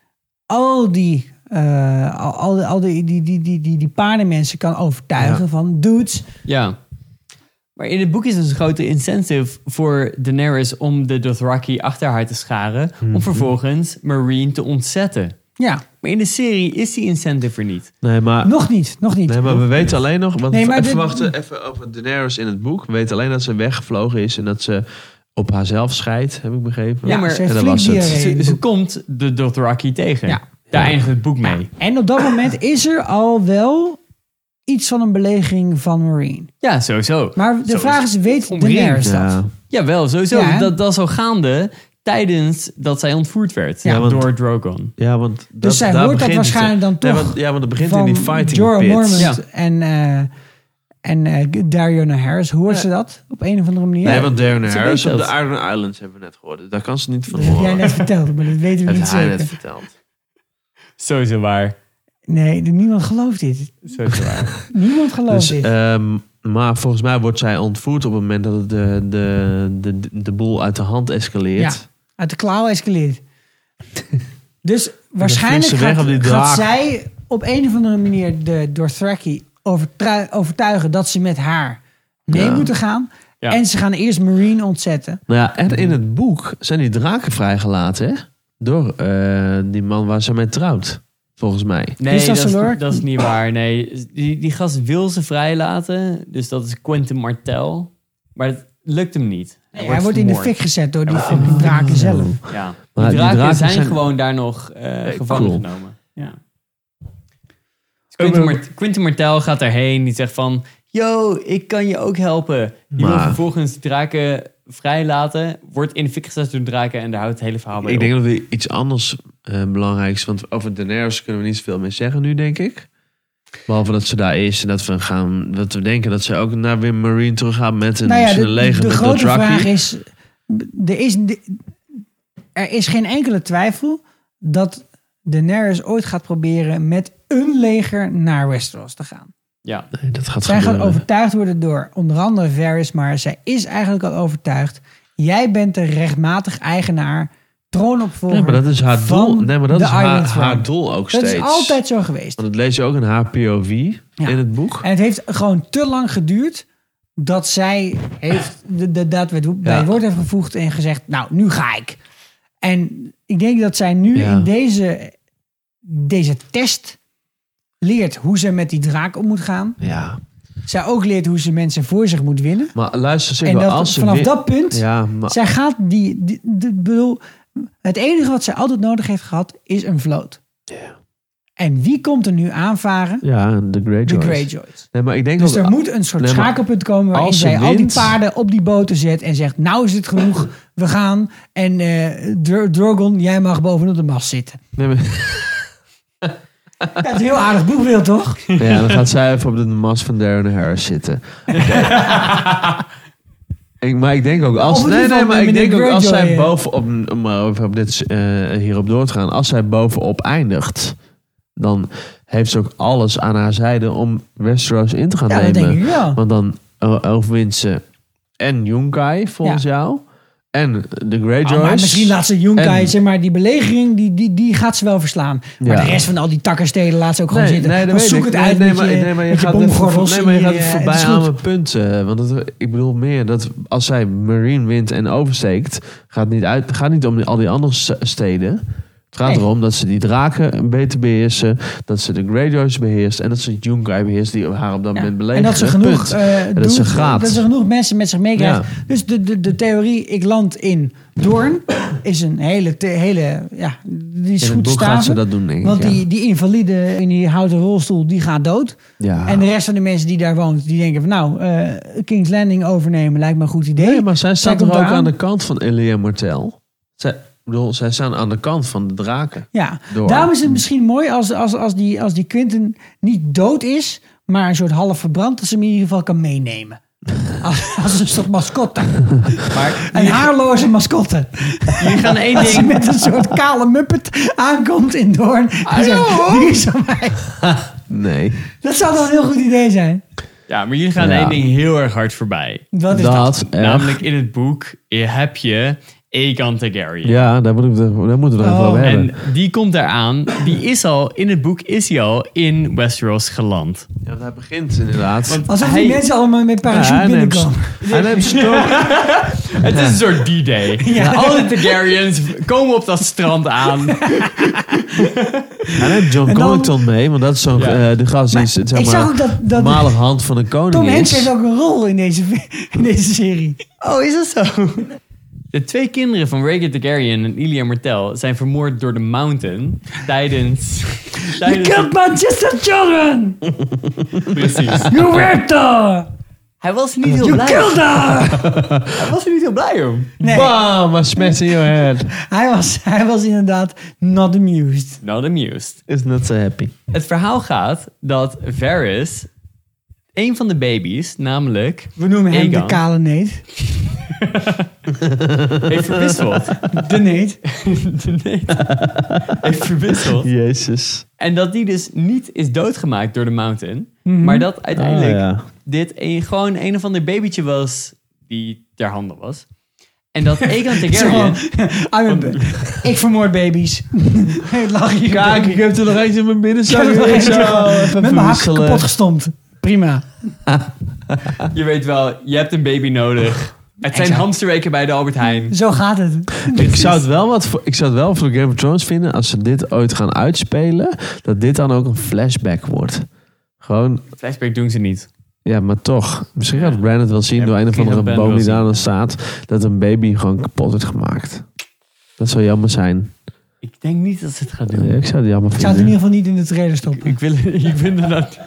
al die, eh, al, al, al die, die, die, die, die, die paardenmensen kan overtuigen van... Dudes,
Ja. Maar in het boek is dus een grote incentive voor Daenerys om de Dothraki achter haar te scharen. Om vervolgens Marine te ontzetten.
ja,
Maar in de serie is die incentive er niet.
Nee, maar,
nog niet, nog niet.
nee, maar we weten alleen nog... Want
Nee, maar
even
dit-
wachten, even over Daenerys in het boek. We weten alleen dat ze weggevlogen is en dat ze op haarzelf scheidt, heb ik begrepen.
ja,
maar-
ze heeft
En dat
flink
was het.
diarree in
Ze,
het
ze
boek.
komt de Dothraki tegen.
Ja.
Daar eindigt het boek mee.
En op dat moment is er al wel iets van een belegering van Marine.
Ja, sowieso.
Maar de
Zo
vraag
is
is, weet
omringd.
Daenerys dat?
Ja.
Jawel, sowieso.
Ja, hè?
dat, dat is al gaande tijdens dat zij ontvoerd werd
Ja,
want-
door Drogon.
Ja, want dat,
Dus zij
daar
hoort dat
begint het, hè.
waarschijnlijk dan
Nee,
toch
want, ja, want het begint
van
in die fighting
Jorah
pits.
Mormont
Ja.
en, eh en eh Dariona Harris. Hoort ze dat op een of andere manier?
Nee, want Darren
Ze
Harris
weet
op de
dat.
Iron Islands hebben we net gehoord. Daar kan ze niet van
dat heb
horen.
jij net verteld, maar dat weten we
Dat
niet
heeft hij
zeker. Oh,
net verteld.
Sowieso waar.
Nee, niemand gelooft dit.
Sowieso waar.
Niemand gelooft
Dus,
dit.
ehm, maar volgens mij wordt zij ontvoerd op het moment dat het de, de, de, de boel uit de hand escaleert.
Ja. Uit de klauw escaleert. dus
vliegt
waarschijnlijk
ze weg
gaat,
op die
gaat
draak.
zij op een of andere manier de Dothraki overtrui- overtuigen dat ze met haar mee
Ja.
moeten gaan.
Ja.
En ze gaan eerst Marine ontzetten.
Nou ja, en in het boek zijn die draken vrijgelaten, hè? Door eh, die man waar ze mee trouwt, volgens mij.
Nee,
Is dat
dat,
zo, Lord?
is, dat is niet waar. Nee, die, die gast wil ze vrijlaten. Dus dat is Quentin Martel. Maar het lukt hem niet. Hij
hij wordt in de
vermoord.
fik gezet door die fucking
Oh.
draken zelf.
Ja. Die
Maar die
draken,
draken
zijn,
zijn-
gewoon daar nog eh, gevangen
klopt.
genomen. Ja. Dus Quentin, Mart- Quentin Martel gaat daarheen. Die zegt van... Yo, ik kan je ook helpen. Die wil
Maar-
vervolgens de draken vrijlaten. Wordt in de fik gezet door de draken. En daar houdt het hele verhaal bij
Ik
op.
denk dat we iets anders eh, belangrijks... Want over Daenerys kunnen we niet zoveel meer zeggen nu, denk ik. Behalve dat ze daar is en dat we, gaan, dat we denken dat ze ook naar Wim Marine terug gaat met een,
Nou ja,
zijn
de,
leger
de
met
grote
Dothraki.
vraag is er, is... er is geen enkele twijfel dat Daenerys ooit gaat proberen met een leger naar Westeros te gaan.
Ja.
Nee, dat gaat
Zij gaat
gebeuren.
overtuigd worden door onder andere Varys, maar zij is eigenlijk al overtuigd. Jij bent de rechtmatig eigenaar, troonopvolger.
Nee, maar dat is haar
van
doel. Nee, maar dat
de
is haar,
Iron Throne.
haar doel ook
Dat
steeds.
is altijd zo geweest.
Want dat lees je ook in haar POV in het boek.
En het heeft gewoon te lang geduurd dat zij heeft de, de daad bij het bij
Ja.
het woord heeft gevoegd en gezegd, nou, nu ga ik. En ik denk dat zij nu
Ja.
in deze, deze test leert hoe ze met die draak om moet gaan.
Ja.
Zij ook leert hoe ze mensen voor zich moet winnen.
Maar luister, zeg
en
wel,
dat,
als ze
vanaf
win-
dat punt,
Ja, maar
zij gaat die, die, die- bedoel, het enige wat zij altijd nodig heeft gehad, is een vloot. En wie komt er nu aanvaren?
Ja, de Greyjoys.
De Greyjoys.
Nee, maar ik denk
Dus
dat...
er moet een soort
Nee, maar
schakelpunt komen waarin
als ze
zij al die
wint-
paarden op die boten zet en zegt, nou is het genoeg, we gaan. En eh Dr- Drogon, jij mag bovenop de mast zitten.
Nee, maar-
Dat is een heel aardig boekbeeld, toch?
ja, dan gaat zij even op de mast van Darren Harris zitten. ik, maar ik denk ook als...
Of in
Nee,
ieder
nee,
geval
maar ik
meneer
denk ook als
Greyjoy,
zij
eh.
bovenop... Om maar even op dit, eh, hierop door te gaan. Als zij bovenop eindigt... Dan heeft ze ook alles aan haar zijde om Westeros in te gaan
Ja, dat
nemen.
denk ik wel.
Want dan eh, overwint ze en Yunkai volgens jou. En de Greyjoys.
Ah, maar misschien laat ze Junkai,
En-
zeg maar, die belegering, die, die, die gaat ze wel verslaan. Maar
Ja.
de rest van al die takkensteden laat ze ook gewoon
Nee,
zitten.
nee,
Maar
dat weet
zoek
ik.
het
Nee,
uit
nee,
met
maar,
je,
nee, maar je
met je
gaat even
bomgordels
nee, maar je
in
gaat
je- eh,
even
het is
voorbij
goed.
aan mijn punten. eh, Want het- ik bedoel meer dat als zij Marine wint en oversteekt, gaat het niet, uit, gaat niet om die- al die andere s- steden. Het gaat
Nee.
erom dat ze die draken beter beheersen, dat ze de Greyjoys beheerst en dat ze Junkai beheerst die haar op dat
Ja.
moment
En
belegeren.
dat ze genoeg,
Punt.
eh,
En dat ze
doet-
gaat.
dat ze genoeg mensen met zich meekrijgt.
Ja.
Dus de, de, de theorie, ik land in Doorn, is een hele, the- hele ja, die is
In het
goed
boek
staven.
gaat ze dat doen, denk ik,
Want
ja.
die, die invalide in die houten rolstoel, die gaat dood.
Ja.
En de rest van de mensen die daar woont, die denken van nou, eh, King's Landing overnemen lijkt me een goed idee.
Nee, maar zij staat
komt
toch ook
eraan.
aan de kant van Elia Martel? Zij, Ik bedoel, zij staan aan de kant van de draken.
Ja,
Door.
daarom is het misschien mooi als, als, als, die, als die Quinten niet dood is, maar een soort half verbrand, dat ze hem in ieder geval kan meenemen. Als, als een soort mascotte.
Maar
Een haarloze mascotte.
jullie gaan één
Als hij
ding...
met een soort kale muppet aankomt in Doorn. Die zegt, "Hier is aan mij."
Nee.
Dat zou wel een heel goed idee zijn.
Ja, maar jullie gaan
Ja.
één ding heel erg hard voorbij.
Wat is dat?
Dat, eh,
Namelijk in het boek eh, heb je Aegon Targaryen.
Ja, daar moeten we, daar moeten we het
Oh.
over hebben.
En die komt daaraan. Die is al, in het boek is hij al in Westeros geland.
ja, want hij begint inderdaad.
Alsof
Hij-
die mensen allemaal met
Ja,
parachute
hij neemt,
binnenkomen.
hij neemt stoom.
Het is een soort D-Day. Al die Targaryens komen op dat strand aan.
Hij neemt John
En dan-
Connington mee, want dat is zo'n
Ja.
eh, de gast die is, zeg maar,
ik zag ook dat- dat-
normale hand van een koning
Tom
is.
Hanks heeft ook een rol in deze, in deze serie.
Oh, is dat zo? De twee kinderen van Rhaegar Targaryen en Ilia Martell zijn vermoord door de Mountain tijdens...
You
tijdens
killed my sister children!
precies.
You raped her!
Hij was er niet heel
You
blij.
killed her!
Hij was er niet heel blij om.
Nee,
Bam, a smash in your head.
hij was, hij was inderdaad not amused.
Not amused.
Is not so happy.
Het verhaal gaat dat Varys, een van de baby's, namelijk...
We noemen hem de
Aegon,
kale neet.
heeft verwisseld.
De neet.
Nee. heeft verwisseld.
Jezus.
En dat die dus niet is doodgemaakt door de Mountain. Maar dat uiteindelijk
Mhm. Ah, ja.
dit een, gewoon een of ander babytje was die ter handen was. En dat Aegon Targaryen...
I'm a- ik vermoord baby's. Lach je
Kijk, ik heb er nog eentje in mijn binnenzak.
Ik heb er nog
Ik
eentje.
zou
Met
even
mijn hak
verwisselen.
kapot gestompt. Prima.
je weet wel, je hebt een baby nodig. Het zijn hamsterweken bij de Albert Heijn.
Zo gaat het.
Ik zou het wel wat voor, ik zou het wel voor Game of Thrones vinden als ze dit ooit gaan uitspelen, dat dit dan ook een flashback wordt. Gewoon,
Flashback doen ze niet.
ja, maar toch. Misschien gaat Bran het wel zien
Ja,
door een of
misschien
andere
gaat Bran
boom die
wel
daar
zien.
dan staat, dat een baby gewoon kapot wordt gemaakt. Dat zou jammer zijn.
Ik denk niet dat ze het gaan doen.
Ja, ik zou het jammer
Ik zou het in
vinden.
ieder geval niet in de trailer stoppen.
Ik wil, ik wil dat...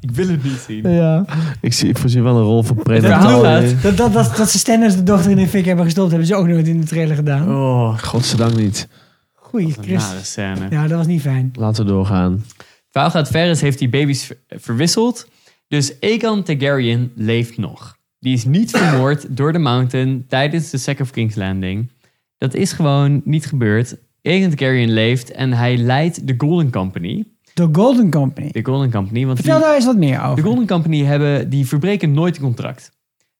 Ik wil het niet zien.
Ja, ik, zie, ik voorzie wel een rol van
verhaal
Predator.
gaat-
in.
Dat, dat, dat, dat ze Stennis de dochter in de fik hebben gestopt, hebben ze ook nooit in de trailer gedaan.
Oh,
Godzijdank niet.
Goeie
een nare
Christus.
scène.
Ja, dat was niet fijn.
Laten we doorgaan.
Vaal gaat Ferris heeft die baby's ver- verwisseld. Dus Aegon Targaryen leeft nog. Die is niet vermoord door de Mountain tijdens de Sack of King's Landing. Dat is gewoon niet gebeurd. Aegon Targaryen leeft en hij leidt de Golden Company.
De Golden Company.
De Golden Company, want die,
Vertel daar eens wat meer
de
over.
Golden Company hebben, die verbreken nooit een contract.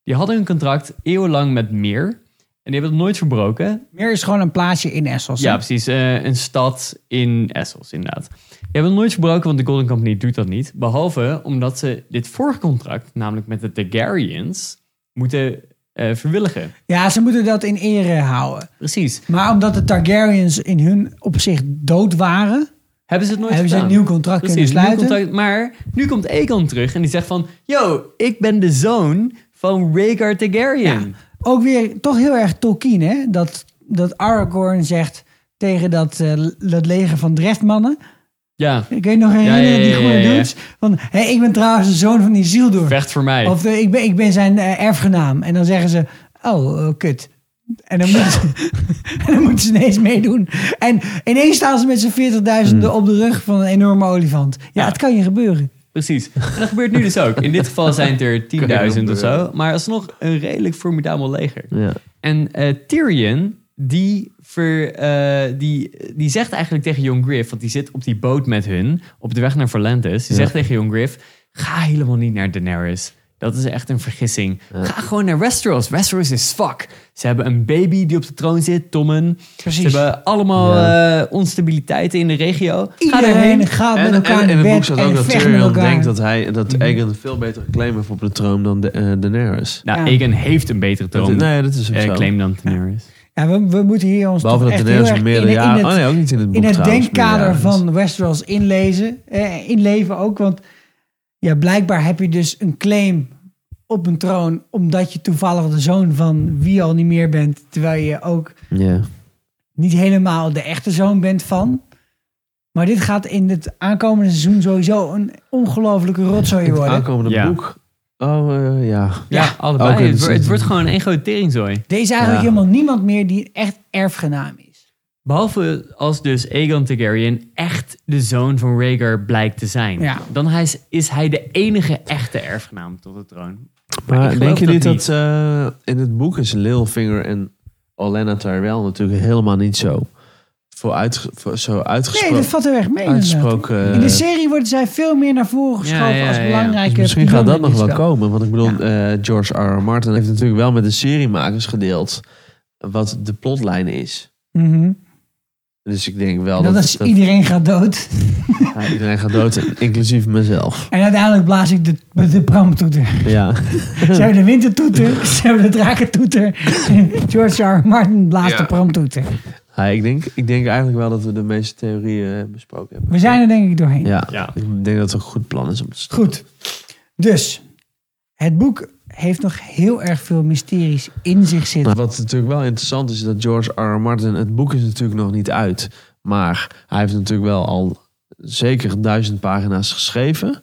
Die hadden een contract eeuwenlang met Meer. En die hebben het nooit verbroken.
Meer is gewoon een plaatsje in Essos. hè?
Ja, precies. eh, een stad in Essos, inderdaad. Je hebt het nooit verbroken, want de Golden Company doet dat niet. Behalve omdat ze dit vorige contract, namelijk met de Targaryens, moeten eh, verwilligen.
ja, ze moeten dat in ere houden.
Precies.
Maar omdat de Targaryens in hun opzicht dood waren,
Hebben ze het nooit
hebben ze een
gedaan.
nieuw contract kunnen
een nieuw
sluiten.
contract, maar nu komt Aegon terug en die zegt van... Yo, ik ben de zoon van Rhaegar Targaryen.
Ook weer toch heel erg Tolkien, hè? Dat, dat Aragorn zegt tegen dat, eh, dat leger van Dreftmannen.
Ja,
Ik weet nog herinneren,
ja, ja,
die goede
ja, ja.
dudes. Van, hé, ik ben trouwens de zoon van Isildur.
vecht voor mij.
Of eh, ik, ben, ik ben zijn eh, erfgenaam. En dan zeggen ze, oh, eh, kut. En dan, moeten ze, en dan moeten ze ineens meedoen. En ineens staan ze met z'n 40.000 op de rug van een enorme olifant. Ja,
Hmm. Ja.
het kan je gebeuren.
Precies. En dat gebeurt nu dus ook. In dit geval zijn het er 10.000 of
eh,
zo. Maar alsnog een redelijk formidabel leger.
Ja.
En eh, Tyrion, die, ver, eh, die, die zegt eigenlijk tegen Jon Griff... want die zit op die boot met hun, op de weg naar Valentis. Die
Ja.
zegt tegen Jon Griff... ga helemaal niet naar Daenerys. Dat is echt een vergissing. Ga gewoon naar Westeros. Westeros is fuck. Ze hebben een baby die op de troon zit, Tommen.
Precies.
Ze hebben allemaal
Ja.
eh, onstabiliteiten in de regio. ga
Iedereen
erheen.
gaat met
En,
elkaar
en, en
in
het boek
bed
staat
en
ook dat
vechten met
Tyrion
elkaar. Mhm.
denkt dat, hij, dat Aegon een veel betere claim heeft op de troon dan de, eh, Daenerys.
Nou,
Ja.
Aegon heeft een betere
Dat,
troon.
nee, dat is ook
Eh,
zo.
claim dan Daenerys.
Ja, we, we moeten hier ons
Behalve
toch
dat
echt
Daenerys
heel
een
erg in,
meerdere
in
jaren...
het,
oh nee, ook niet in het boek
in het
trouwens,
denkkader
meerderjarig.
van Westeros inlezen, eh, inleven ook. Want ja, blijkbaar heb je dus een claim op een troon... omdat je toevallig de zoon van wie al niet meer bent... terwijl je ook
Ja.
niet helemaal de echte zoon bent van. Maar dit gaat in het aankomende seizoen sowieso een ongelofelijke rotzooi
In het
worden.
aankomende
Ja.
boek. Oh, eh, ja.
Ja,
Ja.
allebei.
Ook een-
het, wordt- het wordt gewoon één grote teringzooi.
Er is eigenlijk
Ja.
helemaal niemand meer die echt erfgenaam is.
Behalve als dus Aegon Targaryen echt de zoon van Rhaegar blijkt te zijn.
Ja.
Dan hij is, is hij de enige echte erfgenaam tot de troon. ik
Maar
geloof
denk je
dat
niet
die-
dat eh, in het boek is Littlefinger en Olenna Tyrell natuurlijk helemaal niet zo, voor uitge- voor zo
Nee,
uitgesproken...
dat valt er weg mee. inderdaad.
uitgesproken
In de
eh,
serie worden zij veel meer naar voren geschoven
ja,
als
ja, ja.
belangrijke.
Dus misschien gaat dat
pilonnen
nog
in
wel
dit spel.
komen. Want ik bedoel,
Ja.
eh, George R. R. Martin heeft natuurlijk wel met de seriemakers gedeeld wat de plotlijn is.
Mhm.
Dus ik denk wel
En
dat,
Mhm. dat is
dat
iedereen gaat dood.
iedereen gaat dood, inclusief mezelf.
En uiteindelijk blaas ik de, de pramtoeter.
Ja.
Ze hebben de wintertoeter, ze hebben de drakentoeter. George R. R. Martin blaast
Ja.
de pramtoeter.
Ja, ik, denk, ik denk eigenlijk wel dat we de meeste theorieën eh, besproken hebben.
We zijn er denk ik doorheen.
Ja,
Ja.
ik denk dat het een goed plan is om te stoppen.
Goed. Dus, het boek heeft nog heel erg veel mysteries in zich zitten.
Wat natuurlijk wel interessant is, dat George R. R. Martin, het boek is natuurlijk nog niet uit. Maar hij heeft natuurlijk wel al zeker duizend pagina's geschreven.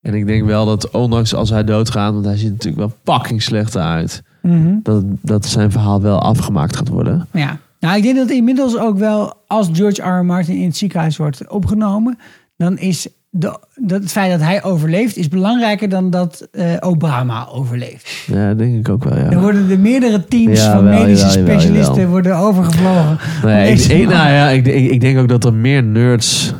En ik denk wel dat ondanks als hij doodgaat, want hij ziet er natuurlijk wel pakking slecht uit.
Mhm.
Dat, dat zijn verhaal wel afgemaakt gaat worden.
Ja. Nou, ik denk dat inmiddels ook wel als George R. R. Martin in het ziekenhuis wordt opgenomen, dan is de, dat het feit dat hij overleeft is belangrijker dan dat eh, Obama overleeft.
Ja, dat denk ik ook wel,
Dan
ja.
worden de meerdere teams
Ja,
van
wel,
medische
jawel, jawel,
specialisten
jawel.
worden overgevlogen.
Nee, ik,
Deze
ik-
man.
nou ja, ik, ik, ik denk ook dat er meer nerds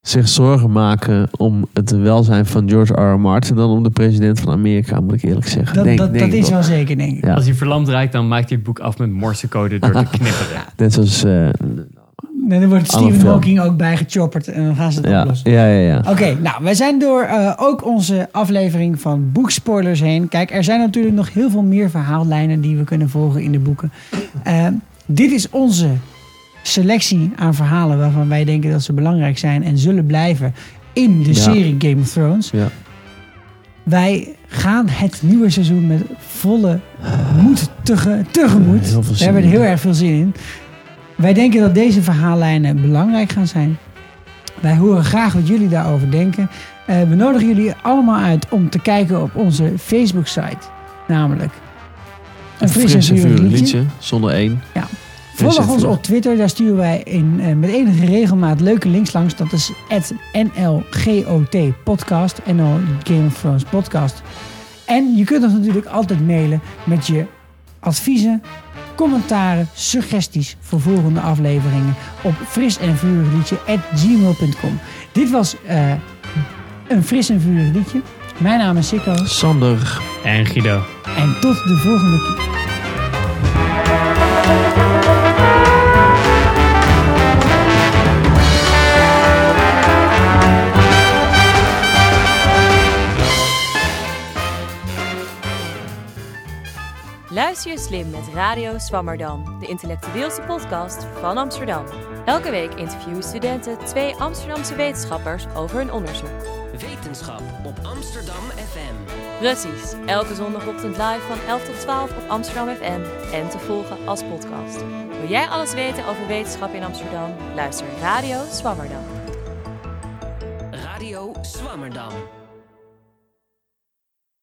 zich zorgen maken om het welzijn van George R. R. Martin dan om de president van Amerika, moet ik eerlijk zeggen.
Dat,
Denk-
dat,
denk
dat
ik
is
wel.
wel zeker, denk ik.
Ja.
Als hij verlamd raakt, dan maakt hij het boek af met morsecode door te knipperen.
Net zoals... eh,
En dan wordt
Allemaal
Stephen
film.
Hawking ook bijgechopperd en dan gaan ze het
Ja,
oplossen.
ja, ja. ja.
Oké, nou, wij zijn door eh, ook onze aflevering van boekspoilers heen. Kijk, er zijn natuurlijk nog heel veel meer verhaallijnen die we kunnen volgen in de boeken. Eh, dit is onze selectie aan verhalen waarvan wij denken dat ze belangrijk zijn en zullen blijven in de
Ja.
serie Game of Thrones.
Ja.
Wij gaan het nieuwe seizoen met volle moed tege- tegemoet.
Heel veel
We
zin
hebben er
in.
heel erg veel zin in. Wij denken dat deze verhaallijnen belangrijk gaan zijn. Wij horen graag wat jullie daarover denken. Eh, we nodigen jullie allemaal uit om te kijken op onze Facebook-site. Namelijk een fris en vurig
vurig
liedje.
zonder één.
Ja.
Fris en
Volg ons
vurig.
op Twitter, daar sturen wij in, eh, met enige regelmaat leuke links langs. Dat is NLGOT podcast, NL Game of Thrones podcast. En je kunt ons natuurlijk altijd mailen met je adviezen, commentaren, suggesties voor volgende afleveringen op fris en vurig liedje gmail.com. Dit was eh, een fris en vurig liedje. Mijn naam is Sikko
Sander.
En Guido.
en tot de volgende keer.
Luister je slim met Radio Swammerdam, de intellectueelste podcast van Amsterdam. Elke week interviewen studenten twee Amsterdamse wetenschappers over hun onderzoek.
Wetenschap op Amsterdam FM.
Precies, elke zondagochtend live van 11 tot 12 op Amsterdam FM en te volgen als podcast. Wil jij alles weten over wetenschap in Amsterdam? Luister Radio Swammerdam.
Radio Swammerdam.